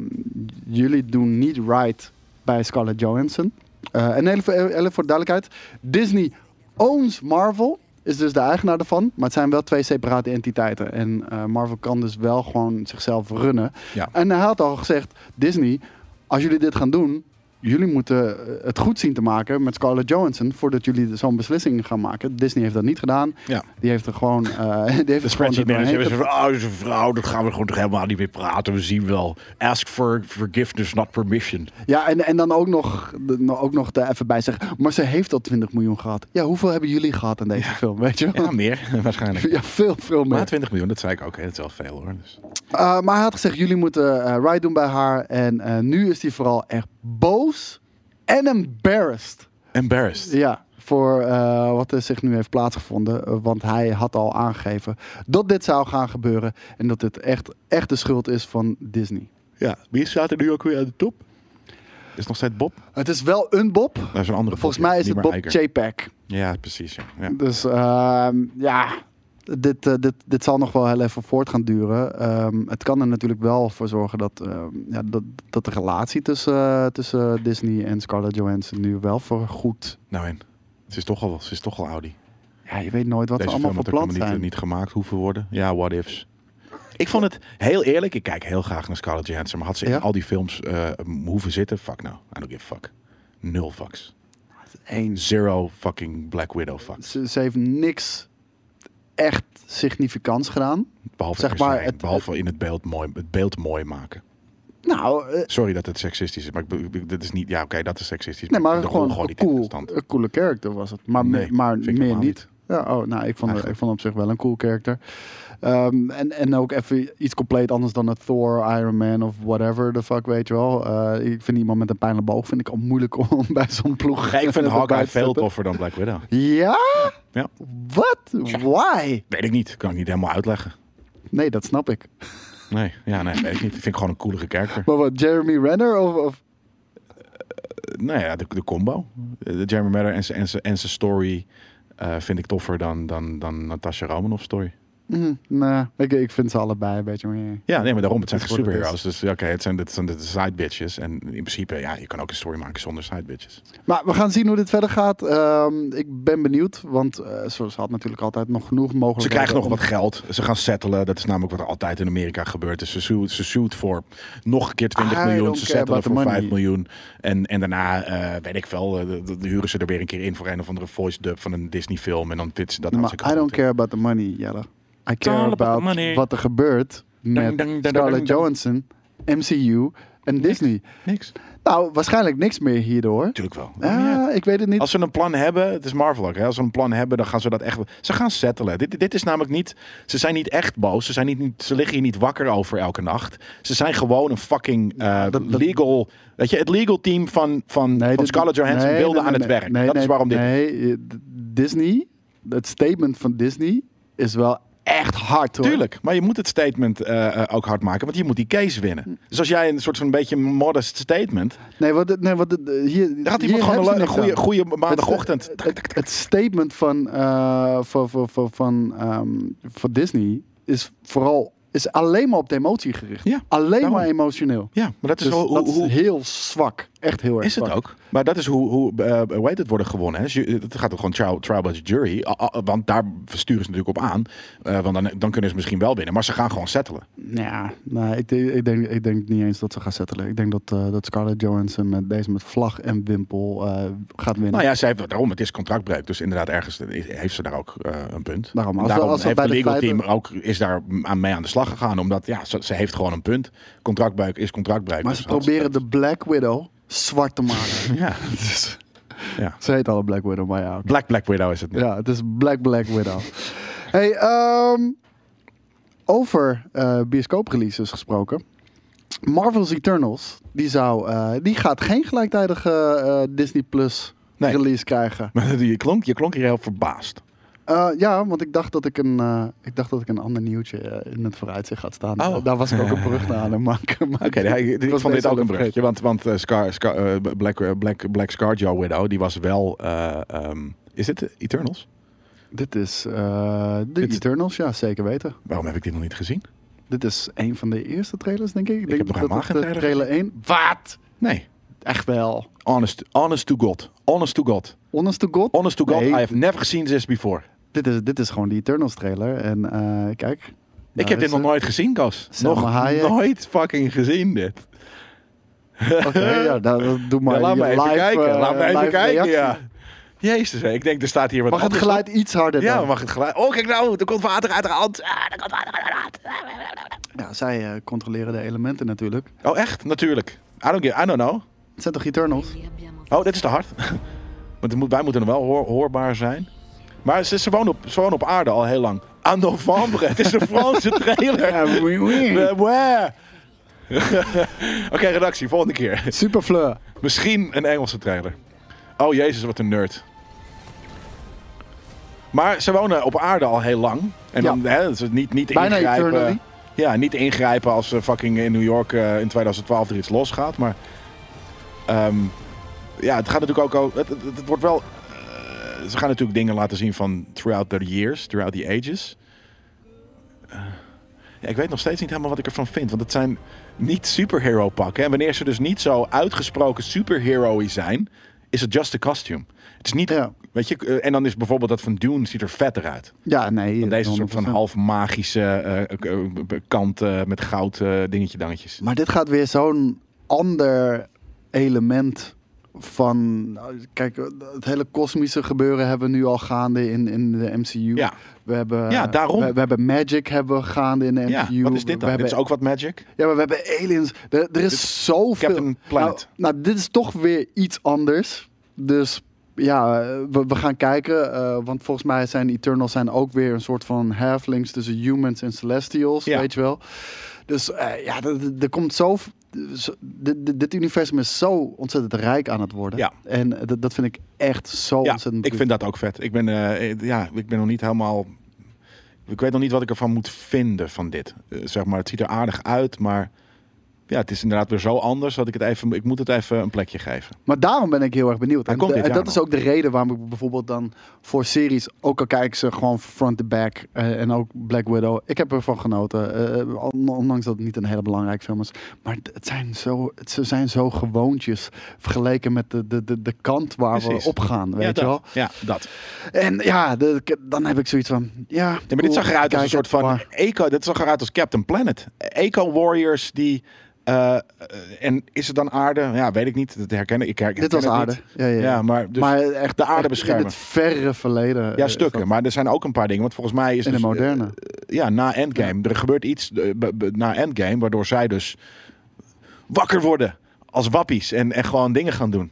C: jullie doen niet right bij Scarlett Johansson. Eh, en even, even voor de duidelijkheid. Disney owns Marvel. Is dus de eigenaar ervan. Maar het zijn wel twee separate entiteiten. En eh, Marvel kan dus wel gewoon zichzelf runnen.
B: Ja.
C: En hij had al gezegd, Disney, als jullie dit gaan doen, jullie moeten eh, het goed zien te maken met Scarlett Johansson voordat jullie zo'n beslissing gaan maken. Disney heeft dat niet gedaan.
B: Ja.
C: Die heeft er gewoon. eh, die heeft er
B: De
C: gewoon
B: spreadsheet
C: er doorheen
B: manager is
C: ge-
B: van, oh, is een vrouw, dat gaan we gewoon toch helemaal niet meer praten. We zien wel. Ask for forgiveness, not permission.
C: Ja, en, en dan ook nog, de- nou, ook nog er even bij zeggen. Maar ze heeft al 20 miljoen gehad. Ja, hoeveel hebben jullie gehad aan deze film? Weet je?
B: Ja,
C: wel?
B: meer waarschijnlijk.
C: Ja, veel, veel meer.
B: Maar 20 miljoen, dat zei ik ook. Hè. Dat is wel veel hoor. Dus.
C: Eh, maar hij had gezegd, jullie moeten eh, right doen bij haar. En eh, nu is hij vooral echt boos en embarrassed.
B: Embarrassed.
C: Ja, voor eh, wat er zich nu heeft plaatsgevonden. Eh, want hij had al aangegeven dat dit zou gaan gebeuren. En dat dit echt, echt de schuld is van Disney.
B: Ja, wie staat er nu ook weer aan de top? Is nog steeds Bob?
C: Het is wel een Bob.
B: Dat is een andere
C: Volgens
B: Bob, ja.
C: mij is
B: Niet
C: het
B: meer
C: Bob
B: Iger.
C: JPEG.
B: Ja, precies. Ja. Ja.
C: Dus ehm, ja, dit, eh, dit, dit zal nog wel heel even voort gaan duren. Ehm, het kan er natuurlijk wel voor zorgen dat, ehm, ja, dat, dat de relatie tussen, eh, tussen Disney en Scarlett Johansson nu wel voor goed.
B: Nou en, ze is toch al, ze is toch al Audi.
C: Ja, je weet nooit wat
B: Deze
C: er allemaal
B: film had ook
C: voor plan
B: helemaal
C: zijn.
B: niet, niet gemaakt hoeven worden. Ja, what ifs. Ik vond het heel eerlijk. Ik kijk heel graag naar Scarlett Johansson. Maar had ze
C: Ja?
B: in al die films eh, hoeven zitten? Fuck nou. I don't give a fuck. Nul fucks.
C: Eén.
B: Zero fucking Black Widow fucks.
C: ze, ze heeft niks echt significants gedaan.
B: Behalve,
C: Zeg
B: er zijn,
C: maar, het-
B: behalve in het beeld, mooi, het beeld mooi maken.
C: Nou, eh,
B: Sorry dat het seksistisch is, maar ik, be- ik, be- dit is niet... Ja, oké, dat is seksistisch.
C: nee, maar
B: ik bedoel
C: gewoon een,
B: niet
C: cool,
B: interessant.
C: een coole character was het. Maar, me-
B: Nee,
C: maar
B: vind ik
C: meer
B: helemaal
C: niet. Ja, oh, nou, ik vond, het, ik
B: Eigenlijk.
C: vond het op zich wel een cool character. Ehm, en, en ook even iets compleet anders dan een Thor, Iron Man of whatever the fuck, weet je wel. Eh, ik vind iemand met een pijnlijke boog vind ik al moeilijk om bij zo'n ploeg...
B: Ja, ik vind
C: erbij
B: Hawkeye
C: te
B: veel
C: zetten.
B: toffer dan Black Widow.
C: Ja?
B: Ja.
C: Wat? Why?
B: Weet ik niet. Kan ik niet helemaal uitleggen.
C: Nee, dat snap ik.
B: Nee, ja, nee, weet ik niet. Vind ik gewoon een coolere karakter.
C: Maar wat, Jeremy Renner of... of
B: Nou ja, de, de combo. Eh, De Jeremy Renner en zijn en zijn- en zijn story eh, vind ik toffer dan, dan, dan Natasha Romanoff's story.
C: Mhm, nee, ik, ik vind ze allebei een beetje... meh.
B: Ja, nee, maar daarom. Het zijn
C: Dat
B: geen
C: is wat het
B: superheroes. Dus ja, oké, het zijn, dit zijn de side bitches. En in principe, ja, je kan ook een story maken zonder side bitches.
C: Maar we gaan zien hoe dit verder gaat. Ehm, ik ben benieuwd, want eh, ze ze had natuurlijk altijd nog genoeg mogelijkheden.
B: Ze krijgen nog
C: om-
B: wat geld. Ze gaan settelen. Dat is namelijk wat er altijd in Amerika gebeurt. Dus ze shoot, ze shoot voor nog een keer 20
C: I
B: miljoen.
C: don't
B: Ze
C: care
B: settelen
C: about the
B: voor 5
C: money.
B: miljoen. En, en daarna, eh, weet ik veel, eh, de- de- de huren ze er weer een keer in voor een of andere voice dub van een Disney film. En dan dit ze dat
C: Maar
B: hartstikke
C: I don't
B: goed in.
C: care about the money, Jelle. I
B: all
C: care
B: about the
C: about
B: money.
C: wat er gebeurt
B: Dang, dang,
C: met
B: dang, dang, dang.
C: Scarlett Johansson, MCU en Disney.
B: Niks.
C: Nou, waarschijnlijk niks meer hierdoor.
B: Tuurlijk wel. Ja.
C: Ah, ik weet het niet.
B: Als ze een plan hebben, het is Marvel ook. Hè? Als ze een plan hebben, dan gaan ze dat echt. Ze gaan settelen. Dit, dit is namelijk niet. Ze zijn niet echt boos. Ze, zijn niet- niet, ze liggen hier niet wakker over elke nacht. Ze zijn gewoon een fucking eh,
C: dat- dat-
B: legal. Weet je, het legal team van, van,
C: Nee,
B: van
C: dit-
B: Scarlett Johansson
C: nee,
B: wilde
C: nee,
B: aan
C: nee,
B: het
C: nee,
B: werk.
C: nee,
B: dat
C: nee,
B: is waarom dit.
C: Nee, eh, d- Disney, het statement van Disney is wel echt hard hoor.
B: Tuurlijk, maar je moet het statement eh, eh, ook hard maken, want je moet die case
C: Hm.
B: winnen. Dus als jij een soort van beetje modest statement,
C: Nee, wat, het- nee, wat, het- hier,
B: dan had
C: hier
B: iemand gewoon
C: hebben ze
B: een,
C: niks
B: goede,
C: aan.
B: goede maandagochtend.
C: Het, het- het statement van, eh, van, van, van, van, ehm, van Disney is vooral is alleen maar op de emotie gericht.
B: Ja,
C: alleen
B: daarom.
C: maar emotioneel.
B: Ja, maar dat is
C: Dus
B: wel hoe-
C: dat
B: hoe,
C: is heel zwak. Echt heel erg
B: Is het
C: zwak.
B: ook. Maar dat is hoe, hoe, eh, hoe heet het worden gewonnen. Hè? Ju- Het gaat ook gewoon trial, trial by jury. A- a- Want daar sturen ze natuurlijk op aan. Eh, want dan, dan kunnen ze misschien wel winnen. Maar ze gaan gewoon settelen.
C: Ja, nou, ik, denk- ik, denk, ik denk niet eens dat ze gaan settelen. Ik denk dat, eh, dat Scarlett Johansson met deze met vlag en wimpel eh, gaat winnen.
B: Nou ja, zij heeft, daarom, het is contractbreuk. Dus inderdaad, ergens heeft ze daar ook eh, een punt.
C: Daarom,
B: En
C: als we-
B: daarom
C: als we
B: heeft
C: bij
B: het
C: de
B: legal
C: feiten-
B: team ook is daar aan mee aan de slag gegaan. Omdat ja, ze, ze heeft gewoon een punt. Contractbreuk is contractbreuk.
C: maar
B: Dus
C: ze
B: dat-
C: proberen de Black Widow zwart te maken.
B: Ja, het is- ja.
C: ze heet al Black Widow, maar ja, oké.
B: Black Black Widow is het. nu.
C: Ja, het is Black Black Widow. hey, ehm, over eh bioscoopreleases gesproken. Marvel's Eternals, die, zou, eh, die gaat geen gelijktijdige eh, Disney Plus
B: Nee.
C: release krijgen.
B: Maar je klonk, je klonk hier heel verbaasd.
C: Eh, ja, want ik dacht dat ik een, eh, ik dacht dat ik een ander nieuwtje eh, in het vooruitzicht had staan.
B: Oh.
C: Eh, daar was ik ook een brug naar aan het maken. maar
B: Oké, nee, ik,
C: was
B: ik vond dit
C: deze
B: ook
C: al
B: een bruggetje. Want, want eh, Scar, Scar, eh, Black, eh, Black, Black Scarjo Widow, die was wel... eh, ehm, is dit de Eternals?
C: Dit is eh, de
B: Dit-
C: Eternals, ja, zeker weten.
B: Waarom heb ik dit nog niet gezien?
C: Dit is een van de eerste trailers, denk ik. Ik, denk
B: heb nog
C: dat
B: helemaal
C: het,
B: geen
C: eh,
B: trailer
C: trailer 1. Wat?
B: Nee.
C: Echt wel.
B: Honest, honest to God. Honest to God.
C: Honest to God.
B: Honest to God,
C: Nee, Nou,
B: I have never seen this before.
C: dit, is, dit is gewoon die Eternals trailer. En eh, kijk.
B: ik heb dit nog nooit gezien, Koos.
C: Selma
B: Nog
C: Hayek.
B: nooit fucking gezien dit.
C: Oké, ja, nou, dat doe maar.
B: Ja, laat
C: je
B: me even
C: live,
B: kijken.
C: eh,
B: laat me even
C: live
B: kijken,
C: reactie.
B: ja. Jezus, hè. ik denk er staat hier wat
C: Mag het
B: anders op.
C: geluid iets harder
B: Ja,
C: dan?
B: mag het geluid. Oh, kijk nou, er komt water uit de hand. Ah, er komt water uit de hand.
C: Ja, zij eh, controleren de elementen natuurlijk.
B: Oh, echt? Natuurlijk. I don't, get, I don't know.
C: Het zijn toch Eternals?
B: Oh, dit is te hard. Want het moet- wij moeten nog wel hoor- hoorbaar zijn. Maar ze, ze, wonen op, ze wonen op aarde al heel lang. Aan november. Het is een Franse trailer. Eh, ouais. Oké, redactie, volgende keer.
C: Superfleur.
B: Misschien een Engelse trailer. Oh jezus, wat een nerd. Maar ze wonen op aarde al heel lang. En dan hè, dus niet, niet
C: Bijna
B: ingrijpen.
C: eternally.
B: Ja, niet ingrijpen als eh, fucking in New York eh, in 2012 er iets losgaat. Maar ehm, ja, het gaat natuurlijk ook al. Het, het, het wordt wel. eh, ze gaan natuurlijk dingen laten zien van throughout the years, throughout the ages. Eh, ja, ik weet nog steeds niet helemaal wat ik ervan vind. Want het zijn niet superhero pakken. En wanneer ze dus niet zo uitgesproken superhero zijn, is het just a costume. Het is niet.
C: Ja.
B: Weet je, eh, en dan is bijvoorbeeld dat van Dune ziet er vetter uit.
C: Ja, nee.
B: Want deze soort van
C: 100%.
B: half magische eh, k- eh, b- kant eh, met goud eh, dingetje dangetjes.
C: Maar dit gaat weer zo'n ander element van... nou, Kijk, het hele kosmische gebeuren hebben we nu al gaande in, in de MCU.
B: Ja.
C: We hebben,
B: Ja, daarom.
C: We, we hebben Magic hebben we gaande in de MCU.
B: Ja, wat is dit
C: We
B: dan? Dit
C: hebben,
B: is ook wat magic.
C: Ja, maar we hebben aliens. Er, er is zoveel...
B: Captain Planet.
C: Nou, nou, dit is toch weer iets anders. Dus ja, eh, we, we gaan kijken. eh, want volgens mij zijn Eternals zijn ook weer een soort van halflings tussen humans en celestials.
B: Ja.
C: Weet je wel. Dus eh, ja, er- er- er komt zo... zo- Dit, dit- dit universum is zo ontzettend rijk aan het worden.
B: Ja.
C: En eh, dat, dat vind ik echt zo
B: Ja,
C: ontzettend
B: ik vind dat ook vet. Ik ben, eh, eh, ja, ik ben nog niet helemaal. Ik weet nog niet wat ik ervan moet vinden van dit. Eh, zeg maar, het ziet er aardig uit, maar Ja, het is inderdaad weer zo anders dat ik het even, ik moet het even een plekje geven.
C: Maar daarom ben ik heel erg benieuwd.
B: Hij
C: En,
B: komt
C: de-
B: dit
C: en
B: jaar
C: dat is
B: nog.
C: ook de reden waarom ik bijvoorbeeld dan voor series, ook al kijk ik ze gewoon front to back eh, en ook Black Widow, ik heb ervan genoten. eh, on- ondanks dat het niet een hele belangrijke film is. Maar het- het zijn zo, het, ze zijn zo gewoontjes vergeleken met de, de, de, de kant waar
B: Precies.
C: we op gaan, weet
B: ja,
C: je wel.
B: dat. Ja, dat.
C: En ja, de- dan heb ik zoiets van, ja.
B: Ja, maar dit zag eruit als een soort van
C: Maar,
B: eco. Dit zag eruit als Captain Planet. Eco Warriors die. eh, eh, en is het dan aarde? Ja, weet ik niet. Dat herken ik. ik herken
C: Dit was
B: het niet.
C: aarde. Ja, ja, ja.
B: Ja, maar, dus,
C: maar echt
B: de aarde
C: echt
B: beschermen.
C: In het verre verleden.
B: ja,
C: eh,
B: stukken. Maar er zijn ook een paar dingen. Want volgens mij is
C: In de
B: dus, eh,
C: moderne.
B: ja, na Endgame. Er gebeurt iets eh, be- be- na Endgame, waardoor zij dus wakker worden als wappies en, en gewoon dingen gaan doen.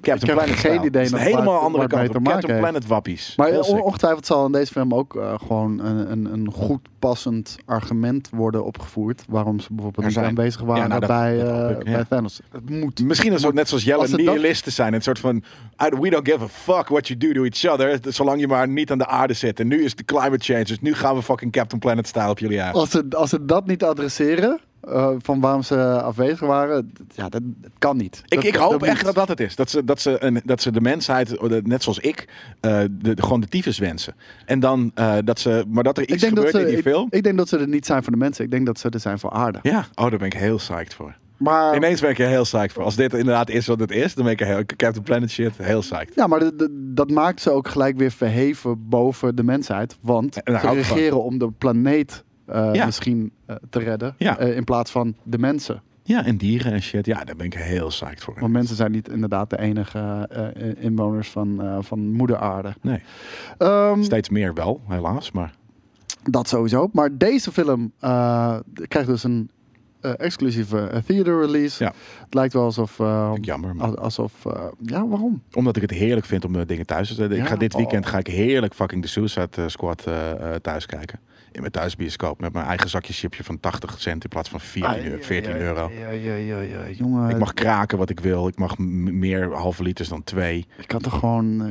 B: Captain
C: heb
B: Planet
C: geen
B: style.
C: idee
B: Dat is een
C: nog waar-
B: helemaal andere
C: waar
B: kant.
C: het mee te
B: op.
C: maken
B: Captain
C: heeft.
B: Planet wappies.
C: Maar eh, oh,
B: Heel
C: on-
B: sick.
C: ongetwijfeld zal in deze film ook eh, gewoon een, een, een goed passend argument worden opgevoerd. Waarom ze bijvoorbeeld
B: Er
C: niet
B: zijn.
C: aanwezig waren
B: Ja, nou, dat-
C: bij,
B: dat
C: eh,
B: hoop ik, ja.
C: bij Thanos. Het moet.
B: Misschien is het net zoals Jelle
C: Als het dat-
B: nihilisten zijn. Een soort van, I- we don't give a fuck what you do to each other. Zolang je maar niet aan de aarde zit. En nu is de climate change. Dus nu gaan we fucking Captain Planet style op jullie uit.
C: Als ze, als ze dat niet adresseren, eh, van waarom ze afwezig waren, d- ja, dat, dat kan niet.
B: Ik, ik hoop
C: moet.
B: echt dat dat het is. Dat ze, dat ze, een, dat ze de mensheid, eh, net zoals ik, eh, de, de- gewoon de tyfus wensen. En dan eh, dat ze, maar dat er
C: Ik
B: iets
C: denk, dat
B: gebeurt
C: ze,
B: in die
C: ik,
B: film.
C: ik denk dat ze er niet zijn voor de mensen. Ik denk dat ze er zijn voor aarde.
B: ja, oh, daar ben ik heel psyched voor.
C: Maar,
B: Ineens ben ik er heel psyched voor. Als dit inderdaad is wat het is, dan ben ik er heel, Captain Planet shit heel psyched.
C: ja, maar de- de- dat maakt ze ook gelijk weer verheven boven de mensheid. Want
B: En daar
C: ze
B: hou ik van.
C: regeren om de planeet eh,
B: Ja.
C: misschien eh, te redden.
B: Ja.
C: eh, in plaats van de mensen.
B: Ja, en dieren en shit. Ja, daar ben ik heel psyched voor.
C: Want mensen zijn niet inderdaad de enige eh, inwoners van, eh, van moeder aarde.
B: Nee,
C: Ehm,
B: steeds meer wel, helaas. Maar
C: dat sowieso. Maar deze film eh, krijgt dus een eh, exclusieve eh, theater release.
B: Ja.
C: Het lijkt wel alsof... eh,
B: Vind ik jammer. maar-
C: al- alsof eh, ja, waarom?
B: Omdat ik het heerlijk vind om de dingen thuis te zetten.
C: Ja?
B: Ik ga dit
C: Oh.
B: weekend ga ik heerlijk fucking de Suicide eh, Squad eh, eh, thuis kijken. In mijn thuisbioscoop. Met mijn eigen zakje chipje van 80 cent in plaats van 14, euro- 14 euro.
C: Ah, Ja, ja, ja, ja. Jongen,
B: Ik
C: ik,
B: mag kraken wat ik wil. Ik mag m- meer halve liters dan twee.
C: kan toch gewoon...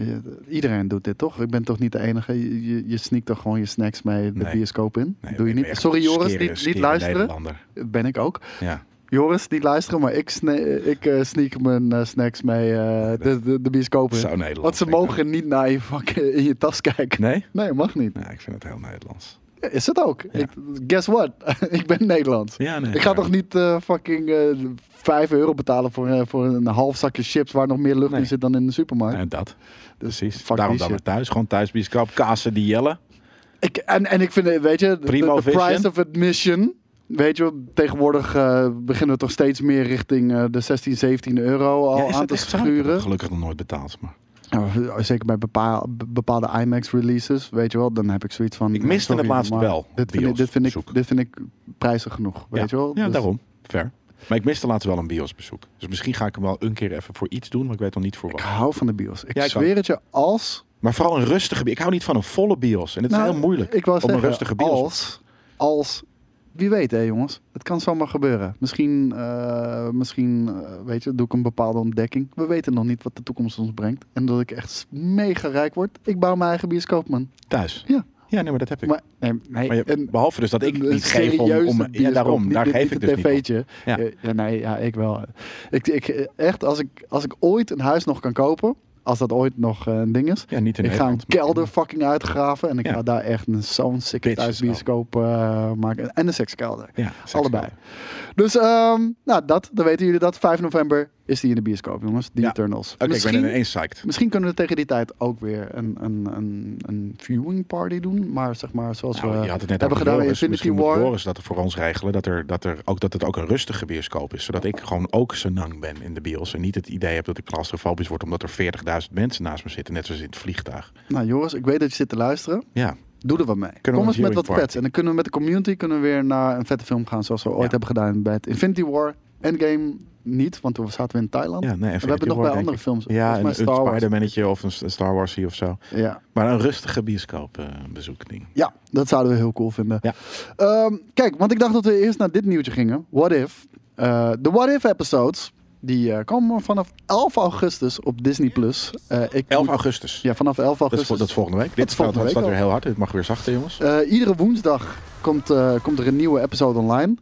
C: eh, iedereen doet dit, toch? Ik ben toch niet de enige? Je, je, je sneakt toch gewoon je snacks mee de
B: Nee.
C: bioscoop in?
B: Nee,
C: Doe je
B: ik ben
C: niet?
B: echt
C: Sorry
B: een
C: Joris,
B: skere-
C: niet, niet
B: skere
C: luisteren.
B: Nederlander.
C: Ben ik ook.
B: Ja.
C: Joris, niet luisteren, maar ik, sne- ik eh, sneak mijn eh, snacks mee eh, de, de, de bioscoop in.
B: Zo Nederlands.
C: Want ze
B: vind ik
C: mogen niet naar je, fucking, in je tas kijken.
B: dat. Nee?
C: Nee, mag niet.
B: Nee, ik vind het heel Nederlands.
C: Is het ook? Ik, guess what? ik ben Nederlands.
B: Ja, nee.
C: Ik ga toch niet eh, fucking eh 5 euro betalen voor, eh, voor een half zakje chips waar nog meer lucht
B: Nee.
C: in zit dan in de supermarkt.
B: En dat. Precies.
C: Dus fuck
B: Daarom
C: die
B: dan
C: shit.
B: maar thuis. Gewoon thuisbioscoop. Kassen die jellen.
C: Ik, en, en ik vind, eh, weet je, de-
B: Primo
C: de, de
B: vision.
C: price of admission. Weet je, wel, tegenwoordig eh, beginnen we toch steeds meer richting eh, de 16, 17 euro al
B: Ja, is
C: aan
B: dat
C: te
B: echt zo? Ik heb
C: schuren.
B: het Gelukkig nog nooit betaald. Maar.
C: Nou, zeker bij bepaal- be- bepaalde IMAX releases, weet je wel, dan heb ik zoiets van.
B: Ik miste
C: eh,
B: het laatst
C: maar
B: wel,
C: Dit vind, ik,
B: bios
C: dit, vind ik,
B: bezoek.
C: dit vind ik prijzig genoeg, weet je
B: ja.
C: wel.
B: Ja,
C: Dus-
B: daarom. Ver. Maar ik miste laatst wel een biosbezoek. Dus misschien ga ik hem wel een keer even voor iets doen, maar ik weet nog niet voor
C: Ik
B: wat.
C: hou van de bios. Ik
B: Ja, ik
C: zweer het je, als.
B: Maar vooral een rustige bios. Ik hou niet van een volle bios. En het
C: Nou,
B: is heel moeilijk
C: Ik wou
B: om
C: zeggen,
B: een rustige bios.
C: Als, als. Wie weet, hè, jongens. Het kan zomaar gebeuren. Misschien, eh, misschien eh, weet je, doe ik een bepaalde ontdekking. We weten nog niet wat de toekomst ons brengt. En dat ik echt mega rijk word. Ik bouw mijn eigen bioscoop, man.
B: thuis.
C: Ja.
B: Ja, nee, maar dat heb ik.
C: Maar, nee, nee,
B: Maar je-
C: en-
B: behalve dus dat ik
C: een
B: niet geef om...
C: serieuze
B: om ja,
C: bioscoop,
B: daarom.
C: niet-
B: Daar
C: niet-
B: geef
C: niet
B: ik
C: een
B: dus niet
C: tv'tje.
B: Ja.
C: Eh, Ja, nee, ja, ik wel. Ik, ik, eh, echt, als ik, als ik ooit een huis nog kan kopen, als dat ooit nog eh, een ding is,
B: om. Ja, niet in
C: ik ga een
B: Nederland, maar-
C: kelder fucking uitgraven en ik
B: Ja.
C: ga daar echt een zo'n sick
B: Bitch,
C: thuisbioscoop eh, maken. En een sekskelder.
B: Ja, sekskelder.
C: Allebei. Dus, ehm, nou, dat, dan weten jullie dat. 5 november is die in de bioscoop, jongens. Die
B: Ja.
C: Eternals.
B: Oké, ik ben
C: misschien,
B: ineens psyched.
C: misschien kunnen we tegen die tijd ook weer een, een, een, een viewing party doen. Maar zeg maar, zoals
B: Nou,
C: we
B: je had het net
C: hebben
B: over
C: gedaan bij
B: Joris.
C: Infinity
B: Misschien moet
C: War.
B: Joris dat voor ons regelen. Dat, er, dat, er, ook, dat het ook een rustige bioscoop is. Zodat ik gewoon ook senang ben in de bios. En niet het idee heb dat ik claustrofobisch word. Omdat er 40.000 mensen naast me zitten. Net zoals in het vliegtuig.
C: Nou, Joris, ik weet dat je zit te luisteren.
B: Ja,
C: Doe er wat mee.
B: we
C: Kom
B: een
C: eens met
B: viewing
C: wat
B: party?
C: vets. En dan kunnen we met de community kunnen we weer naar een vette film gaan. Zoals we ooit
B: Ja.
C: hebben gedaan bij het Infinity War. Endgame niet, want toen zaten we in Thailand.
B: ja nee,
C: en we hebben nog bij andere films.
B: Ja,
C: volgens mij
B: een,
C: Star
B: een
C: Wars.
B: Spider-Mannetje of een S- een Star Wars of zo.
C: Ja.
B: Maar een rustige eh, bioscoopbezoekding.
C: ja, dat zouden we heel cool vinden.
B: Ja.
C: Ehm, kijk, want ik dacht dat we eerst naar dit nieuwtje gingen. What If. Eh, De What If episodes Die eh, komen vanaf 11 augustus op Disney+. Plus. Eh, ik
B: 11
C: moet-
B: augustus.
C: Ja, vanaf 11
B: Dat, is,
C: augustus.
B: vol- dat is volgende week.
C: Dat
B: Dit
C: is volgende
B: staat,
C: week
B: staat
C: al.
B: weer heel hard. Dit mag weer zachter, jongens.
C: Eh, iedere woensdag komt, eh, komt er een nieuwe episode online.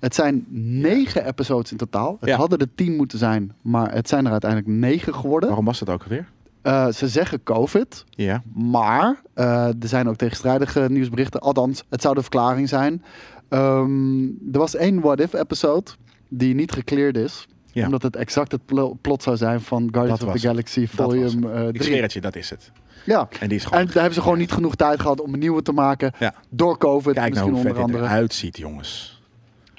C: Het zijn negen episodes in totaal. Het
B: Ja.
C: hadden er tien moeten zijn, maar het zijn er uiteindelijk negen geworden.
B: Waarom was dat ook alweer?
C: Eh, ze zeggen COVID,
B: Ja.
C: maar eh, er zijn ook tegenstrijdige nieuwsberichten. Althans, het zou de verklaring zijn. Ehm, er was één What If episode die niet gecleared is.
B: Ja.
C: Omdat het exact het plo- plot zou zijn van Guardians
B: Dat
C: of
B: was
C: the
B: het.
C: Galaxy
B: Dat was
C: Volume
B: het.
C: eh, 3.
B: Ik zweer het je, dat is het.
C: Ja.
B: En die is
C: En
B: gewoon...
C: daar hebben ze gewoon niet genoeg tijd gehad om een nieuwe te maken.
B: Ja.
C: Door COVID
B: Kijk nou
C: misschien
B: hoe vet
C: onder
B: dit
C: andere.
B: eruit ziet, jongens.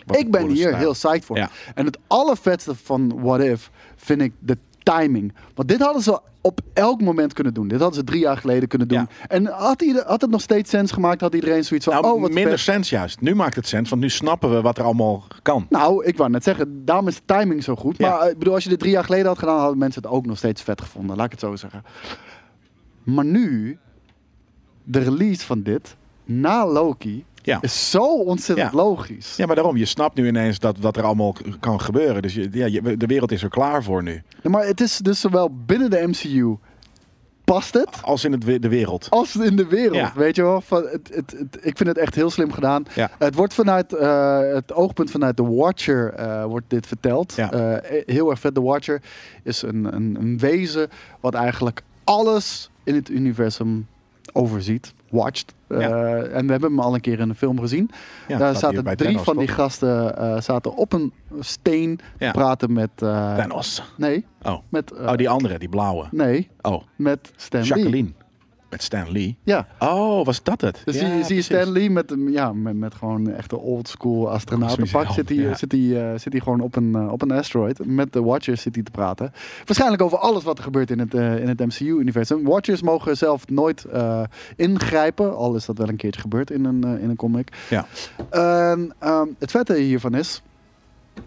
B: Wat
C: Ik
B: een
C: ben
B: coole
C: hier
B: stijl.
C: heel psyched voor.
B: Ja.
C: En het allervetste van What If vind ik de timing. Want dit hadden ze op elk moment kunnen doen. Dit hadden ze drie jaar geleden kunnen doen.
B: Ja.
C: En had, ieder, had het nog steeds sens gemaakt, had iedereen zoiets van...
B: Nou,
C: oh, wat
B: minder
C: vet.
B: sens juist. Nu maakt het sens, want nu snappen we wat er allemaal kan.
C: Nou, ik wou net zeggen, daarom is de timing zo goed.
B: Ja.
C: Maar eh, ik bedoel, als je dit drie jaar geleden had gedaan, hadden mensen het ook nog steeds vet gevonden. Laat ik het zo zeggen. Maar nu, de release van dit, na Loki,
B: Ja.
C: is zo ontzettend
B: Ja.
C: logisch.
B: Ja, maar daarom, je snapt nu ineens dat wat er allemaal k- kan gebeuren. Dus je, ja, je- de wereld is er klaar voor nu.
C: Ja, maar het is dus zowel binnen de MCU past het,
B: Als in het, we- de wereld.
C: als in de wereld.
B: Ja.
C: Weet je wel? Van, het, het, het- ik vind het echt heel slim gedaan.
B: Ja.
C: Het wordt vanuit eh, het oogpunt vanuit The Watcher eh, wordt dit verteld.
B: Ja.
C: Eh, heel erg vet. The Watcher is een, een, een wezen wat eigenlijk alles in het universum overziet. Watched. Eh,
B: Ja.
C: En we hebben hem al een keer in een film gezien.
B: Ja, staat
C: Daar
B: hier
C: zaten
B: bij
C: drie
B: Thanos,
C: van die
B: toch?
C: gasten eh, zaten op een steen te
B: Ja.
C: praten met... eh,
B: Thanos.
C: Nee,
B: Oh.
C: met... eh,
B: oh, die andere, die blauwe.
C: Nee,
B: Oh,
C: met Stan Lee.
B: Jacqueline. Met Stan Lee.
C: Ja,
B: Oh, was dat het? Ja,
C: dus zie, zie je
B: precies.
C: Stan Lee met, een- ja, met, met gewoon een echte oldschool astronautenpak.
B: Kosmische
C: Zit hij
B: helm, ja.
C: zit hij eh, zit hij gewoon op een, eh, op een asteroid. Met de Watchers zit hij te praten. Waarschijnlijk over alles wat er gebeurt in het, eh, in het MCU-universum. Watchers mogen zelf nooit eh, ingrijpen. Al is dat wel een keertje gebeurd in een, eh, in een comic.
B: Ja.
C: En, ehm, het vette hiervan is...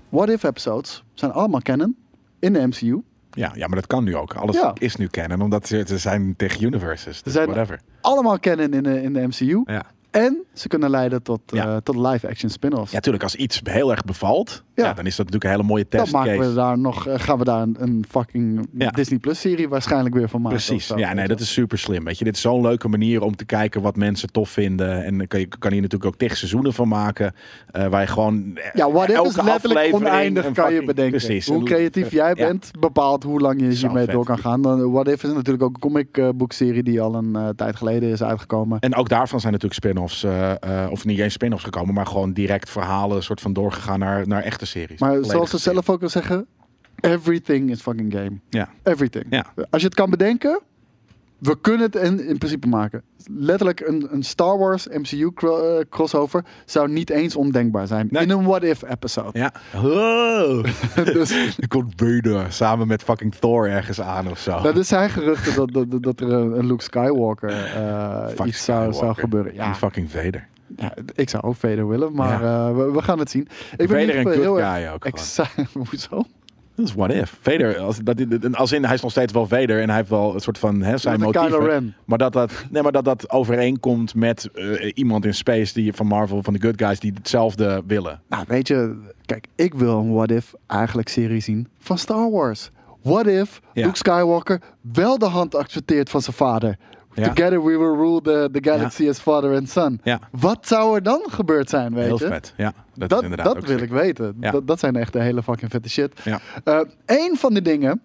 C: What If episodes zijn allemaal canon in de MCU.
B: Ja, ja, maar dat kan nu ook. Alles
C: Ja.
B: is nu canon, omdat ze, ze zijn tegen universes. Dus
C: zijn-
B: whatever.
C: Allemaal canon in de, in de MCU.
B: Ja.
C: En ze kunnen leiden tot,
B: Ja.
C: eh, tot live-action spin-offs.
B: Ja, natuurlijk. Als iets heel erg bevalt,
C: Ja.
B: ja. dan is dat natuurlijk een hele mooie
C: Dan maken we
B: testcase.
C: daar nog, eh, gaan we daar een, een fucking
B: Ja.
C: Disney Plus serie waarschijnlijk weer van maken. of
B: Precies.
C: zo.
B: Ja, nee, dat is super slim. Weet je, dit is zo'n leuke manier om te kijken wat mensen tof vinden. En dan kan, je, kan hier natuurlijk ook tegen seizoenen van maken. eh, waar je gewoon. eh,
C: Ja, what if
B: elke
C: is letterlijk
B: aflevering
C: oneindig,
B: een
C: kan je
B: fucking-
C: bedenken.
B: Precies.
C: Hoe
B: En-
C: creatief jij
B: Ja.
C: bent, bepaalt hoe lang je
B: Zo
C: hiermee
B: vet.
C: door kan gaan. Dan, eh, what If is natuurlijk ook een comic eh, book serie die al een eh, tijd geleden is uitgekomen.
B: En ook daarvan zijn natuurlijk spin-offs, eh, eh, of niet eens spin-offs gekomen, maar gewoon direct verhalen, soort van doorgegaan naar, naar echte series.
C: Maar
B: Volledige
C: zoals ze
B: series.
C: zelf ook al zeggen, everything is fucking game.
B: Ja.
C: Everything.
B: Ja.
C: Als je het kan bedenken, we kunnen het in, in principe maken. Letterlijk een, een Star Wars MCU cro- eh, crossover zou niet eens ondenkbaar zijn.
B: Nee.
C: In een what if episode.
B: Ja. Oh.
C: Dus-
B: Ik kon Vader samen met fucking Thor ergens aan of zo.
C: Nou, er zijn geruchten dat, dat, dat- dat er een een Luke Skywalker eh,
B: Fuck
C: iets zou, zou
B: Skywalker.
C: gebeuren. Ja,
B: Die fucking Vader.
C: ja, ik zou ook Vader willen, maar eh, we, we gaan het zien. Ik ben
B: Vader
C: in
B: en
C: ieder geval
B: Good
C: heel
B: Guy ook.
C: erg
B: gewoon.
C: excited. Hoezo?
B: Dat is what if. Vader, als, dat, als in hij is nog steeds wel Vader en hij heeft wel een soort van hè, zijn
C: Met de
B: motieven.
C: Kylo Ren.
B: Maar dat dat, nee, maar dat dat overeenkomt met eh, iemand in space die van Marvel, van de good guys, die hetzelfde willen.
C: Nou, weet je, kijk, ik wil een What If eigenlijk serie zien van Star Wars. What If
B: Ja.
C: Luke Skywalker wel de hand accepteert van zijn vader.
B: Ja.
C: Together we will rule the, the galaxy as father and son.
B: Ja.
C: Wat zou er dan gebeurd zijn, weet
B: Heel
C: je?
B: vet. Ja, dat, is
C: Dat,
B: inderdaad
C: dat
B: ook
C: wil
B: sick.
C: ik weten.
B: Ja.
C: Dat, dat zijn echt de hele fucking vette shit.
B: Ja.
C: Eén van de dingen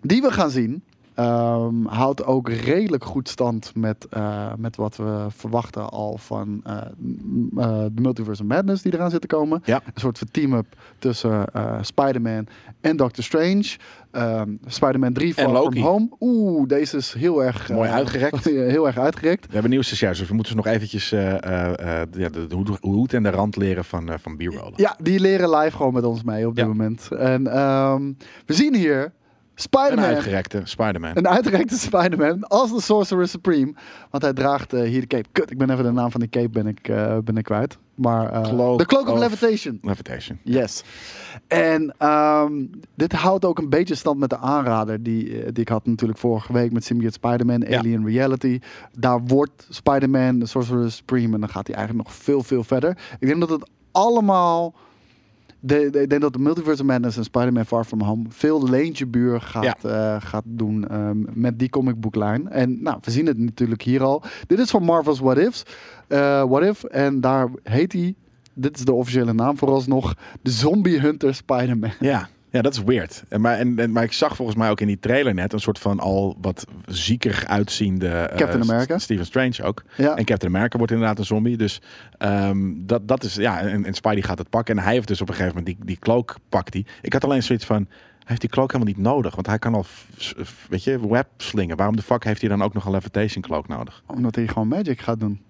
C: die we gaan zien, ehm, houdt ook redelijk goed stand met, eh, met wat we verwachten al van eh, m- eh, de Multiverse of Madness die eraan zit te komen.
B: Ja.
C: Een soort van team-up tussen eh Spider-Man en Doctor Strange. Ehm, Spider-Man 3 Far From
B: Loki.
C: Home. Oeh, deze is heel erg...
B: Mooi
C: eh,
B: uitgerekt.
C: heel erg uitgerekt.
B: We hebben nieuws dit jaar, dus we moeten ze nog eventjes eh, eh, eh, ja, de, de hoed, hoed en de rand leren van, eh, van B-rollen.
C: Ja, die leren live gewoon met ons mee op dit
B: Ja.
C: moment. En ehm, we zien hier
B: Een
C: Spider-Man
B: uitgerekte Spider-Man.
C: Een uitgerekte Spider-Man als de Sorcerer Supreme. Want hij draagt eh, hier de cape. Kut, ik ben even de naam van die cape ben ik, eh, ben ik kwijt. Maar eh,
B: Cloak
C: de Cloak of,
B: of-
C: Levitation.
B: Levitation.
C: Yes. En ehm, dit houdt ook een beetje stand met de aanrader die, eh, die ik had natuurlijk vorige week met Symbiote Spider-Man,
B: Ja.
C: Alien Reality. Daar wordt Spider-Man, de Sorcerer Supreme en dan gaat hij eigenlijk nog veel, veel verder. Ik denk dat het allemaal de, de- ik denk dat de Multiverse of Madness en Spider-Man Far From Home veel leentje buur gaat, eh, gaat doen ehm, met die comic book line. En nou, we zien het natuurlijk hier al. Dit is van Marvel's What Ifs. Eh, What If, en daar heet hij, dit is de officiële naam vooralsnog, de Zombie Hunter Spider-Man.
B: Ja, ja dat is weird. En, maar, en, en- maar ik zag volgens mij ook in die trailer net een soort van al wat zieker uitziende... eh,
C: Captain America.
B: S- Stephen Strange ook.
C: Ja.
B: En Captain America wordt inderdaad een zombie. Dus ehm, dat, dat is... Ja, en, en Spidey gaat het pakken. En hij heeft dus op een gegeven moment die, die cloak pakt hij. Ik had alleen zoiets van... Hij heeft die cloak helemaal niet nodig. Want hij kan al, f- f- weet je, web slingen. Waarom de fuck heeft hij dan ook nog een levitation cloak nodig?
C: Omdat hij gewoon magic gaat doen.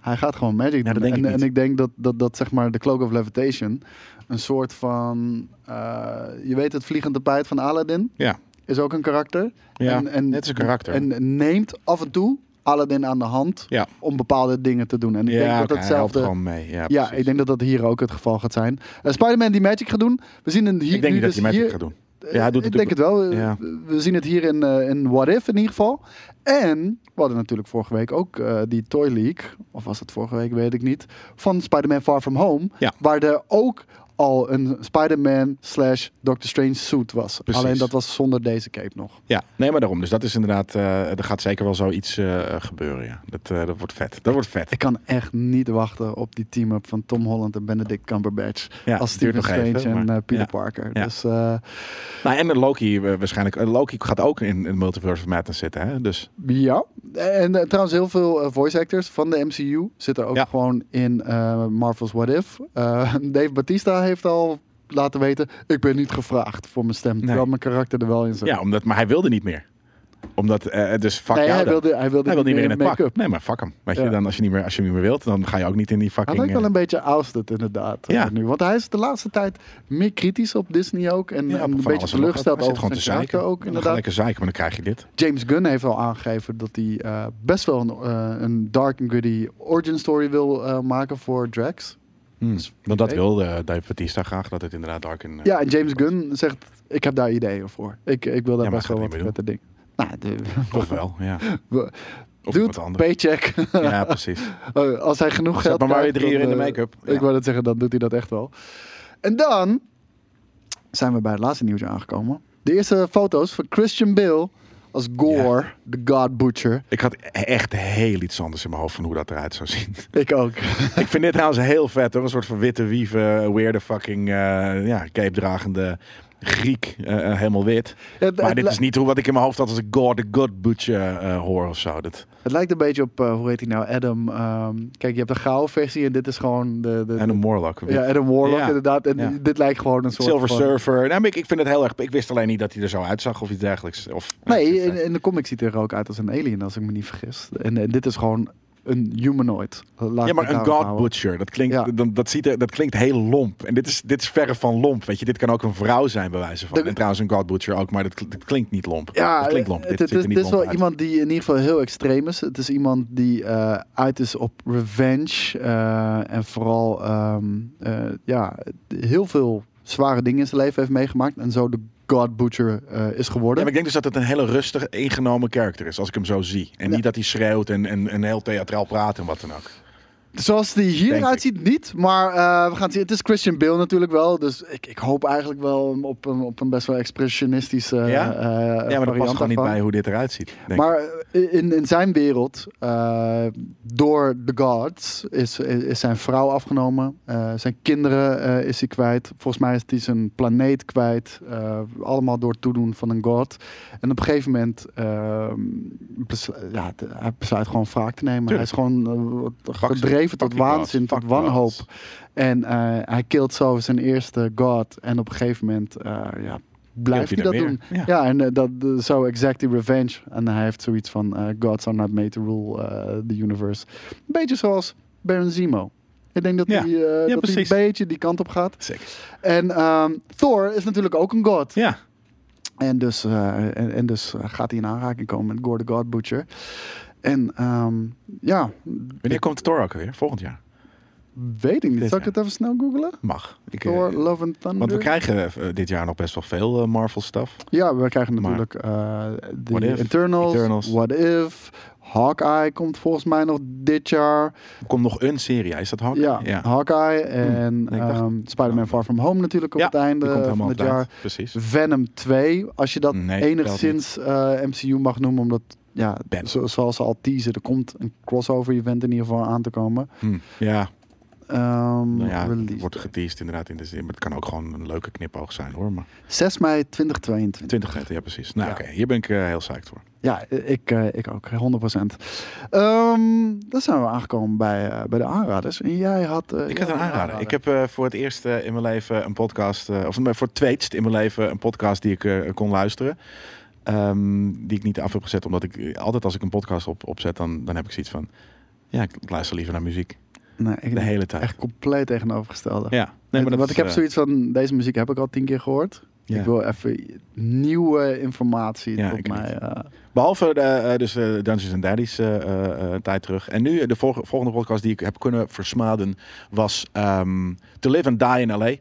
C: Hij gaat gewoon magic doen.
B: dat denk ik
C: en,
B: niet.
C: en ik denk dat, dat, dat zeg maar de Cloak of Levitation een soort van... eh, je weet het vliegend tapijt van Aladdin?
B: Ja.
C: Is ook een karakter.
B: Ja, het is een karakter.
C: En neemt af en toe Aladdin aan de hand
B: Ja.
C: om bepaalde dingen te doen. En ik
B: ja,
C: denk
B: oké,
C: dat
B: hij helpt
C: datzelfde...
B: gewoon mee. Ja,
C: ja,
B: precies.
C: ik denk dat dat hier ook het geval gaat zijn. Eh, Spider-Man die magic gaat doen. We zien een hier,
B: Ik denk niet
C: nu
B: dat hij
C: dus
B: magic
C: hier,
B: gaat doen. Ja, hij doet
C: ik denk
B: natuurlijk-
C: het wel.
B: Ja.
C: We zien het hier in, eh, in What If in ieder geval. En we hadden natuurlijk vorige week ook eh, die Toy Leak. Of was het vorige week, weet ik niet. Van Spider-Man Far From Home.
B: Ja.
C: Waar er ook al een Spider-Man slash Doctor Strange suit was.
B: Precies.
C: Alleen dat was zonder deze cape nog.
B: Ja, nee, maar daarom. Dus dat is inderdaad, eh, er gaat zeker wel zoiets eh, gebeuren. Ja. Dat, eh, dat wordt vet. Dat wordt vet.
C: Ik kan echt niet wachten op die team-up van Tom Holland en Benedict Cumberbatch.
B: Ja,
C: als
B: duurt
C: Stephen
B: nog
C: Strange
B: even,
C: en
B: maar-
C: eh, Peter
B: ja.
C: Parker.
B: Ja.
C: Dus eh,
B: Nou, en Loki eh, waarschijnlijk. Eh, Loki gaat ook in, in Multiverse of Madness zitten. Hè? Dus
C: Ja, en eh, trouwens heel veel eh, voice actors van de MCU zitten ook
B: Ja.
C: gewoon in eh, Marvel's What If. Eh, Dave Batista heeft al laten weten, ik ben niet gevraagd voor mijn stem, terwijl mijn karakter er wel in zit.
B: ja, omdat, maar hij wilde niet meer. Omdat, eh, dus fuck
C: eh, nee,
B: jou
C: hij
B: dan.
C: wilde, hij wilde
B: Hij wil niet meer in
C: het
B: het
C: make-up.
B: pak. Nee, maar fuck hem. Weet
C: Ja.
B: je, dan als je, niet meer, als je hem niet meer wilt, dan ga je ook niet in die
C: Hij
B: fucking...
C: lijkt wel
B: eh,
C: een beetje ousted inderdaad eh,
B: Ja.
C: nu. Want hij is de laatste tijd meer kritisch op Disney ook. En,
B: ja,
C: en een
B: van alles
C: beetje
B: en nog wat.
C: teleurgesteld
B: Hij zit
C: over
B: gewoon te
C: zijn karakter
B: zeiken.
C: ook
B: Dan ga je
C: inderdaad.
B: lekker zeiken, maar dan krijg je dit.
C: James Gunn heeft al aangegeven dat hij eh, best wel een, eh, een dark and gritty origin story wil eh, maken voor Drax.
B: Hmm. Want dat
C: oké.
B: wilde eh, Dave Batista graag, dat het inderdaad dark en... eh,
C: Ja, en James Gunn zegt, ik heb daar ideeën voor. Ik, ik wil daar
B: Ja, maar
C: best wel
B: dat
C: wat
B: gaat hij niet
C: vette dingen. Nou, de,
B: Of wel, ja.
C: we-
B: Of iemand
C: dude,
B: anders.
C: paycheck.
B: Ja, precies.
C: Eh, Als hij genoeg
B: Zet
C: geld
B: maar maar
C: krijgt,
B: weer drie
C: dan,
B: uur in de
C: eh,
B: make-up.
C: Ik
B: Ja.
C: wou dat zeggen, dan doet hij dat echt wel. En dan zijn we bij het laatste nieuwtje aangekomen. De eerste foto's van Christian Bale als Gore, de God Butcher.
B: Ik had e- echt heel iets anders in mijn hoofd van hoe dat eruit zou zien.
C: Ik ook.
B: ik vind dit trouwens heel vet hoor. Een soort van witte wieven, weirde fucking eh ja, cape dragende Griek. eh, eh, helemaal wit.
C: Het-
B: maar
C: het
B: dit
C: li-
B: is niet hoe wat ik in mijn hoofd had als ik God the God Butcher eh, hoor of zo. Dat,
C: Het lijkt een beetje op, eh, hoe heet hij nou, Adam. ehm, kijk, je hebt de gouden versie en dit is gewoon de... de
B: en een Morlock.
C: ja, Adam Warlock
B: Ja.
C: inderdaad. En
B: Ja.
C: dit lijkt gewoon een soort
B: Silver
C: van...
B: Surfer. Nou, maar ik, ik vind het heel erg. Ik wist alleen niet dat hij er zo uitzag of iets dergelijks. Of,
C: Nee,
B: ja,
C: in, in de comic ziet hij er ook uit als een alien, als ik me niet vergis. En, eh, dit is gewoon een humanoid. Laat
B: ja,
C: ik
B: maar
C: het
B: een
C: daarop
B: God
C: houden.
B: Butcher, dat klinkt,
C: Ja.
B: dan, dat, ziet er, dat klinkt heel lomp. En dit is, dit is verre van lomp. Weet je, dit kan ook een vrouw zijn, bij wijze van.
C: Dat-
B: en trouwens, een God Butcher ook, maar dat, kl- dat klinkt niet lomp.
C: Ja,
B: dat klinkt lomp.
C: Het,
B: Dit
C: het
B: ziet
C: is,
B: er niet
C: dit is
B: lomp
C: wel
B: uit.
C: iemand die in ieder geval heel extreem is. Het is iemand die eh, uit is op revenge. eh, en vooral ehm, eh, ja, heel veel zware dingen in zijn leven heeft meegemaakt. En zo de God Butcher eh, is
B: Ja,
C: geworden.
B: maar ik denk dus dat het een hele rustig ingenomen karakter is, als ik hem zo zie. En
C: Ja. Eh,
B: niet dat hij schreeuwt en, en, en heel theatraal praat en wat dan ook.
C: Zoals die
B: Denk
C: hieruit
B: ik.
C: ziet, niet. Maar eh, we gaan zien. Het is Christian Bale natuurlijk wel. Dus ik, ik hoop eigenlijk wel op een, op een best wel expressionistische eh
B: Ja?
C: eh,
B: ja, maar dat
C: variant
B: past gewoon niet
C: daarvan.
B: bij hoe dit eruit ziet. denk ik.
C: Maar eh, in, in zijn wereld, eh, door de gods, is, is, is zijn vrouw afgenomen. Eh, zijn kinderen eh, is hij kwijt. Volgens mij is hij zijn planeet kwijt. Eh, allemaal door het toedoen van een god. En op een gegeven moment eh, beslu- ja, de- hij besluit gewoon wraak te nemen.
B: Tuurlijk.
C: Hij is gewoon eh,
B: Fuck ze.
C: gedreven
B: Fuck
C: tot
B: die gods.
C: waanzin, tot
B: Fuck die gods.
C: wanhoop. En eh, hij kilt zo zijn eerste god. En op een gegeven moment eh, ja, blijft
B: hij
C: hij dat
B: dan
C: doen.
B: weer?
C: Ja,
B: Ja.
C: en eh, dat eh, zo exact die revenge. En hij heeft zoiets van eh, gods are not made to rule eh, the universe. Een beetje zoals Baron Zemo. Ik denk dat,
B: Ja.
C: hij,
B: Ja,
C: eh, dat hij een
B: precies.
C: beetje die kant op gaat.
B: Zeker.
C: En ehm, Thor is natuurlijk ook een god.
B: Ja,
C: En dus, eh, en, en dus eh, gaat hij in aanraking komen met Gore the God Butcher. En ehm, ja,
B: wanneer komt Thor ook weer? Volgend jaar.
C: Weet ik niet.
B: Dit
C: Zal
B: jaar.
C: ik het even snel googlen?
B: Mag. Ik, eh,
C: Thor, Love and Thunder.
B: want we krijgen eh, dit jaar nog best wel veel eh, Marvel stuff.
C: Ja, we krijgen
B: Maar-
C: natuurlijk eh
B: What
C: de
B: If,
C: Eternals,
B: Eternals.
C: What If, Hawkeye komt volgens mij nog dit jaar.
B: Er komt nog een serie. Is dat Hawkeye? Hm,
C: Ja, Hawkeye en
B: ik dacht-
C: ehm, Spider-Man Far From Home natuurlijk op
B: Ja,
C: het einde
B: Die komt
C: van
B: helemaal
C: het
B: op tijd.
C: jaar.
B: Precies.
C: Venom 2, als je dat
B: Nee,
C: enigszins eh, MCU mag noemen, omdat ja,
B: Venom.
C: zo- zoals ze al teasen, er komt een crossover event in ieder geval aan te komen.
B: Hm. Ja,
C: Ehm,
B: nou ja,
C: release.
B: wordt geteased inderdaad in de zin. Maar het kan ook gewoon een leuke knipoog zijn hoor. Maar
C: 6 mei 2022.
B: 20 meter, ja precies. Nou
C: Ja.
B: oké, hier ben ik eh, heel psyched voor.
C: Ja, ik, eh, ik ook, 100%. Ehm dan zijn we aangekomen bij, eh, bij de aanraders. En jij had. eh,
B: Ik
C: jij
B: had een aanrader. Ik heb eh, voor het eerst eh, in mijn leven een podcast, eh, of nee, voor het tweetst in mijn leven een podcast die ik eh, kon luisteren. Ehm, die ik niet af heb gezet, omdat ik eh, altijd als ik een podcast op, opzet, dan, dan heb ik zoiets van... Ja, ik luister liever naar muziek.
C: Nee, ik
B: De hele tijd.
C: Echt compleet tegenovergestelde.
B: Ja. Nee, maar dat
C: Want
B: is,
C: ik heb
B: eh,
C: zoiets van: deze muziek heb ik al tien keer gehoord.
B: ja.
C: Ik wil even nieuwe informatie
B: Ja,
C: tot
B: ik
C: mij. eh,
B: Behalve de, eh, dus eh, Dungeons and Daddies eh, eh, eh, tijd terug. En nu eh, de volg- volgende podcast die ik heb kunnen versmaden was ehm, To Live and Die in L.A.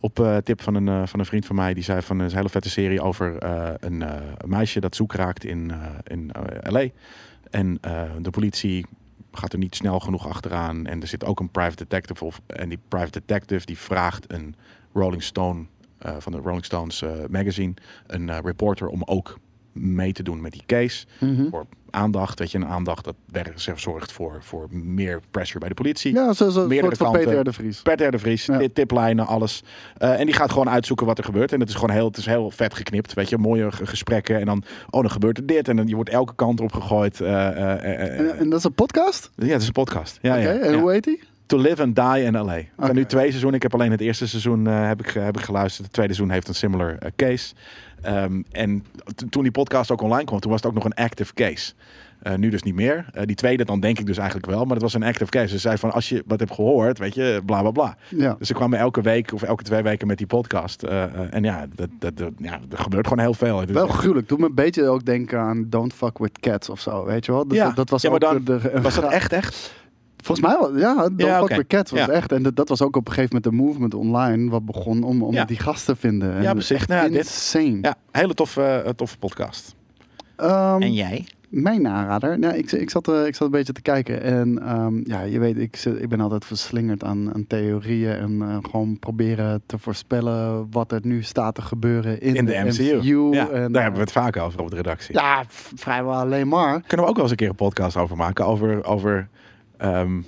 B: Op eh, tip van een, eh, van een vriend van mij. Die zei van een hele vette serie over eh, een eh, een meisje dat zoek raakt in, eh, in eh, L.A. En eh, de politie gaat er niet snel genoeg achteraan. En er zit ook een private detective op. En die private detective die vraagt een Rolling Stone eh, van de Rolling Stones eh, magazine. Een eh, reporter om ook mee te doen met die case
C: mhm.
B: voor aandacht. Weet je, een aandacht dat ergens zorgt voor, voor meer pressure bij de politie.
C: Ja, zoals een
B: meerdere
C: soort van
B: kanten.
C: Peter R. de Vries.
B: Bert R. de Vries,
C: Ja.
B: ti- tiplijnen, alles. Eh, en die gaat gewoon uitzoeken wat er gebeurt. En het is gewoon heel, het is heel vet geknipt. Weet je, mooie ge- gesprekken. En dan, oh, dan gebeurt er dit. En dan, je wordt elke kant op gegooid. eh, eh, eh, eh.
C: En, en dat is een podcast?
B: ja, het is een podcast. Ja,
C: Oké,
B: ja,
C: en
B: ja.
C: hoe heet die?
B: To Live and Die in L.A. Ik
C: Oké.
B: ben nu twee seizoenen. Ik heb alleen het eerste seizoen eh, heb ik, ge- heb ik geluisterd. Het tweede seizoen heeft een similar eh, case. Ehm, en t- toen die podcast ook online kwam, toen was het ook nog een active case. Eh, nu dus niet meer. Eh, die tweede dan denk ik dus eigenlijk wel. Maar het was een active case. Ze zei van, als je wat hebt gehoord, weet je, bla bla bla.
C: Ja.
B: Dus ze kwamen elke week of elke twee weken met die podcast. Eh, eh, en ja, dat, dat, dat- ja, er gebeurt gewoon heel veel. Het is
C: Wel
B: echt-
C: gruwelijk. Doet me een beetje ook denken aan Don't Fuck With Cats of zo, weet je wel? Dat,
B: Ja.
C: dat, dat was
B: Ja, maar
C: ook
B: dan-
C: de- een
B: was dat
C: gra-
B: echt, echt?
C: Volgens mij wel, ja. Don't
B: Ja,
C: Fuck
B: oké.
C: With Cats was
B: Ja.
C: echt. En dat, dat was ook op een gegeven moment de movement online... wat begon om, om
B: Ja.
C: die gast te vinden. En
B: Ja,
C: dat is
B: precies. Nou ja, dit-
C: insane.
B: Ja, hele toffe, eh, toffe podcast.
C: Ehm,
B: jij?
C: Mijn aanrader? Nou, ik, ik, zat, eh, ik zat een beetje te kijken. En ehm, ja, je weet, ik, zit- ik ben altijd verslingerd aan, aan theorieën... en eh, gewoon proberen te voorspellen wat er nu staat te gebeuren in,
B: In de MCU. Ja,
C: en,
B: daar
C: eh,
B: hebben we het vaak over op de redactie.
C: ja, v- vrijwel alleen maar.
B: Kunnen we ook wel eens een keer een podcast over maken? Over, over ehm,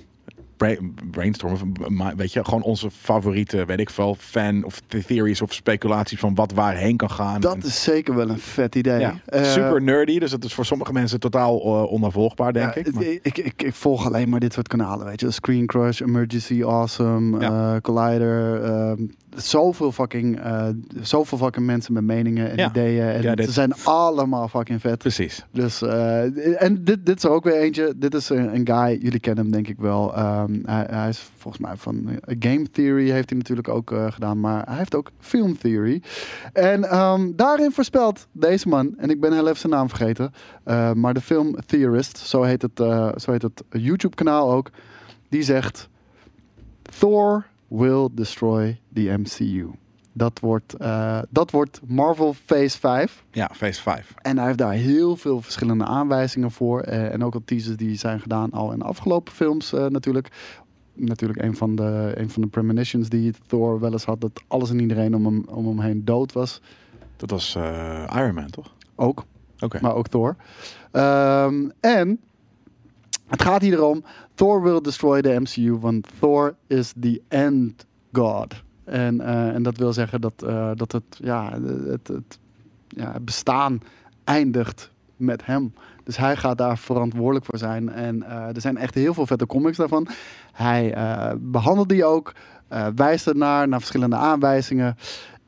B: bra- brainstormen. van, maar Weet je, gewoon onze favoriete, weet ik veel, fan of the- theories of speculaties van wat waarheen kan gaan.
C: Dat
B: En-
C: is zeker wel een vet idee.
B: ja,
C: Eh,
B: super nerdy, dus dat is voor sommige mensen totaal eh, onnavolgbaar, denk
C: ja,
B: ik. Maar-
C: ik, ik. Ik volg alleen maar dit soort kanalen, weet je. Screen Crush, Emergency Awesome,
B: Ja.
C: eh, Collider. ehm, zoveel, fucking, eh, zoveel fucking mensen met meningen en
B: Ja.
C: ideeën. En
B: Ja,
C: ze
B: dit-
C: zijn allemaal fucking vet.
B: Precies.
C: Dus, eh, en dit, dit is er ook weer eentje. Dit is een, een guy, jullie kennen hem denk ik wel. Ehm, hij, hij is volgens mij van eh, Game Theory heeft hij natuurlijk ook eh, gedaan. Maar hij heeft ook Film Theory. En ehm, daarin voorspelt deze man, en ik ben heel even zijn naam vergeten. eh, maar de Film Theorist, zo heet het, eh, zo heet het YouTube kanaal ook. Die zegt, Thor will destroy the MCU. Dat wordt, eh, dat wordt Marvel Phase 5.
B: Ja, Phase 5.
C: En hij heeft daar heel veel verschillende aanwijzingen voor. eh, en ook al teasers die zijn gedaan al in de afgelopen films eh, natuurlijk. Natuurlijk een van, de, een van de premonitions die Thor wel eens had. Dat alles en iedereen om hem, om hem heen dood was.
B: Dat was eh, Iron Man, toch?
C: Ook,
B: Oké.
C: maar ook Thor. Ehm, en het gaat hier om. Thor will destroy the MCU. Want Thor is the end god. En, eh, en dat wil zeggen dat, eh, dat het, ja, het, het ja, het bestaan eindigt met hem. Dus hij gaat daar verantwoordelijk voor zijn. En eh, er zijn echt heel veel vette comics daarvan. Hij eh, behandelt die ook, eh, wijst ernaar, naar verschillende aanwijzingen.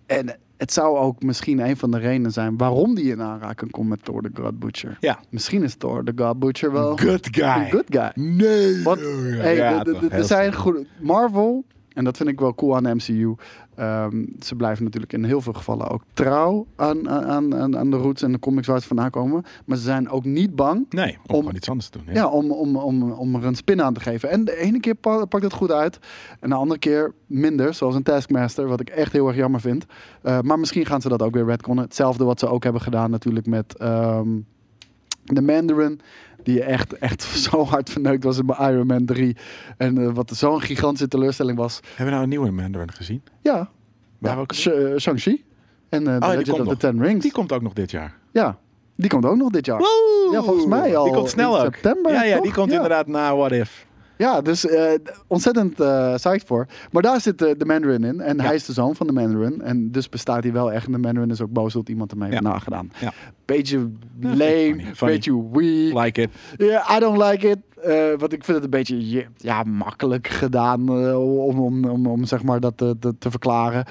C: En het zou ook misschien een van de redenen zijn waarom die in aanraking komt met Thor the God Butcher.
B: Ja.
C: Misschien is Thor the God Butcher wel
B: Good guy.
C: een good guy.
B: Nee.
C: Want,
B: joh, ja.
C: hey,
B: Oh, Ja,
C: de- de-
B: toch,
C: de-
B: heel
C: er zijn
B: slim.
C: goede... Marvel En dat vind ik wel cool aan de MCU. Ehm, ze blijven natuurlijk in heel veel gevallen ook trouw aan, aan, aan, aan de roots en de comics waar ze vandaan komen. Maar ze zijn ook niet bang
B: Nee, om,
C: Om-
B: gewoon iets anders te doen. Ja.
C: ja, om, om, om, om er een spin aan te geven. En de ene keer pa- pakt het goed uit. En de andere keer minder, zoals een Taskmaster. Wat ik echt heel erg jammer vind. Eh, maar misschien gaan ze dat ook weer redconnen. Hetzelfde wat ze ook hebben gedaan natuurlijk met ehm, de Mandarin. Die echt, echt zo hard verneukt was in bij Iron Man 3. En eh, wat zo'n gigantische teleurstelling was.
B: Hebben we nou een nieuwe Mandarin gezien?
C: Ja,
B: Waar
C: ja
B: ook-
C: Sh- eh, Shang-Chi. En eh The
B: Oh, die
C: Legend
B: komt
C: of the
B: nog.
C: Ten Rings.
B: Die komt ook nog dit jaar.
C: ja, die komt ook nog dit jaar. Ja, volgens mij al
B: Die komt snel
C: in
B: ook.
C: september,
B: Ja, ja die
C: toch?
B: komt
C: Ja.
B: inderdaad na What If.
C: Ja, dus eh, d- ontzettend eh psyched voor. Maar daar zit eh, de Mandarin in. En hij is de zoon van de Mandarin. En dus bestaat hij wel echt. En de Mandarin is ook boos dat iemand ermee heeft
B: Ja.
C: nagedaan.
B: Ja.
C: Beetje
B: Ja,
C: lame,
B: funny, funny.
C: beetje weak.
B: Like it.
C: Yeah, I don't like it. Eh want ik vind het een beetje je- ja, makkelijk gedaan eh, om, om, om, om zeg maar dat eh, te, te, te verklaren.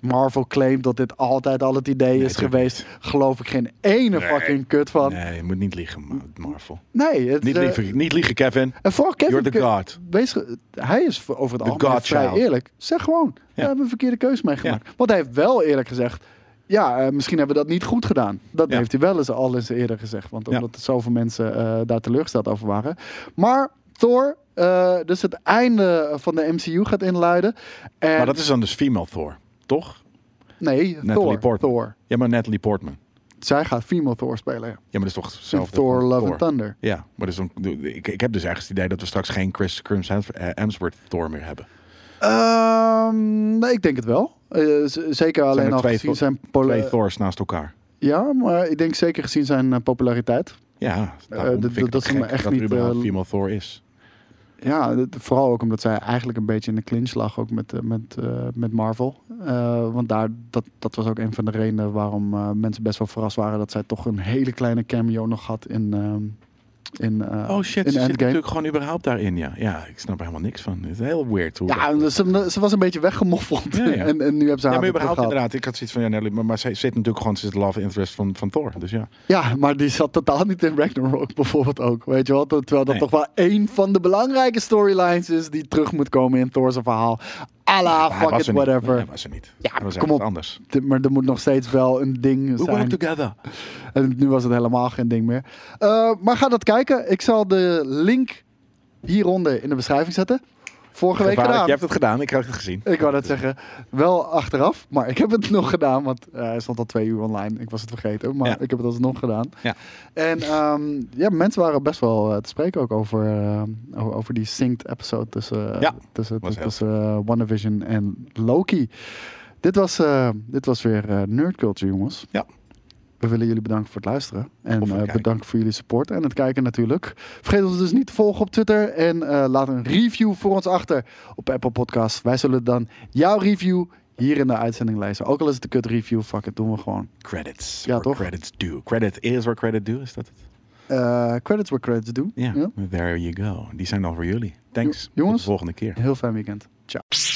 C: Marvel claimt dat dit altijd al het idee is
B: tuurlijk
C: geweest. Geloof ik geen ene
B: Nee.
C: fucking kut van. Nee,
B: Nee, je moet niet liegen, Ma- Marvel.
C: het
B: Niet
C: eh,
B: liegen, niet liegen Kevin.
C: en vooral Kevin.
B: You're the
C: Ke-
B: god.
C: Wees ge- hij is voor- over het
B: The
C: algemeen
B: God
C: vrij
B: child.
C: eerlijk. Zeg gewoon, we hebben een verkeerde keuze meegemaakt. Want hij heeft wel eerlijk gezegd, ja, eh, misschien hebben we dat niet goed gedaan. Dat
B: Ja.
C: heeft hij wel eens al eens eerder gezegd. Want
B: Ja.
C: omdat er zoveel mensen eh, daar teleurgesteld over waren. Maar Thor, eh, dus het einde van de MCU gaat inluiden. En,
B: Maar dat is dan dus female Thor, toch?
C: nee,
B: Natalie
C: Thor,
B: Portman.
C: Thor.
B: Ja, maar Natalie Portman.
C: Zij gaat female Thor spelen. ja.
B: Ja, maar dat is toch
C: In
B: hetzelfde.
C: Thor,
B: als
C: Love and Thunder.
B: Ja, maar dus dan, ik, ik heb dus ergens het idee dat we straks geen Chris, Chris Hemsworth Thor meer hebben.
C: Oh, Ehm, nee, ik denk het wel. Eh, z- zeker alleen
B: er
C: al
B: twee
C: gezien
B: Thor-
C: zijn... pole-
B: Twee Thors naast elkaar.
C: Ja, maar ik denk zeker gezien zijn eh, populariteit.
B: Ja, daarom
C: Eh, dat-
B: vind ik het
C: dat is me
B: gek
C: echt
B: dat
C: niet,
B: er überhaupt
C: eh,
B: female Thor is.
C: Ja, dat- vooral ook omdat zij eigenlijk een beetje in de clinch lag ook met, eh, met, eh, met Marvel. Eh, want daar, dat, dat was ook een van de redenen waarom eh, mensen best wel verrast waren dat zij toch een hele kleine cameo nog had in, ehm, in, eh,
B: oh shit, ze zit
C: in Endgame.
B: natuurlijk gewoon überhaupt daarin, ja. Ja, ik snap er helemaal niks van. Het is heel weird hoe dat-
C: Ja, dus ze, ze was een beetje weggemoffeld.
B: Ja, ja.
C: En, en nu hebben ze
B: ja, maar
C: haar weer
B: überhaupt
C: teruggehad.
B: inderdaad. Ik had zoiets van, ja, Natalie, maar, maar zij zit natuurlijk gewoon, ze is de love interest van, van Thor. Dus ja.
C: Ja, maar die zat totaal niet in Ragnarok bijvoorbeeld ook. Weet je wel? Terwijl dat
B: Nee.
C: toch wel één van de belangrijke storylines is die terug moet komen in Thor's verhaal. Ala,
B: Maar hij
C: Ah, fuck
B: was
C: it,
B: er niet.
C: whatever.
B: Nee, hij was er niet.
C: Ja,
B: Hij was
C: kom
B: ergens
C: op.
B: anders.
C: Dit- Maar er moet nog steeds wel een ding
B: We work
C: zijn.
B: together.
C: En nu was het helemaal geen ding meer. Eh, maar ga dat kijken. Ik zal de link hieronder in de beschrijving zetten. Vorige week
B: Gevaarlijk.
C: gedaan.
B: Je hebt het gedaan, ik heb het gezien.
C: Ik wou dat zeggen. Wel achteraf, maar ik heb het nog gedaan. Want eh, hij stond al twee uur online. Ik was het vergeten, maar
B: Ja.
C: ik heb het alsnog gedaan.
B: Ja.
C: En ehm, ja, mensen waren best wel eh, te spreken ook over, eh, o- over die synced episode tussen, eh,
B: Ja,
C: tussen,
B: was heel
C: tussen eh, WandaVision en Loki. Dit was, eh, dit was weer eh, Nerd Culture, jongens.
B: Ja.
C: We willen jullie bedanken voor het luisteren. En
B: Of het
C: eh,
B: kijken.
C: bedankt voor jullie support en het kijken natuurlijk. Vergeet ons dus niet te volgen op Twitter. En eh, laat een review voor ons achter op Apple Podcasts. Wij zullen dan jouw review hier in de uitzending lezen. Ook al is het een kut review, fuck it, doen we gewoon.
B: Credits.
C: Ja,
B: Where
C: toch?
B: Credits due. Credit is where credit due, is dat het?
C: Eh, credits where credits due.
B: Ja,
C: Ja.
B: there you go. Die zijn al voor jullie. Thanks.
C: Jo- jongens.
B: Tot de volgende keer.
C: Heel fijn weekend. Ciao.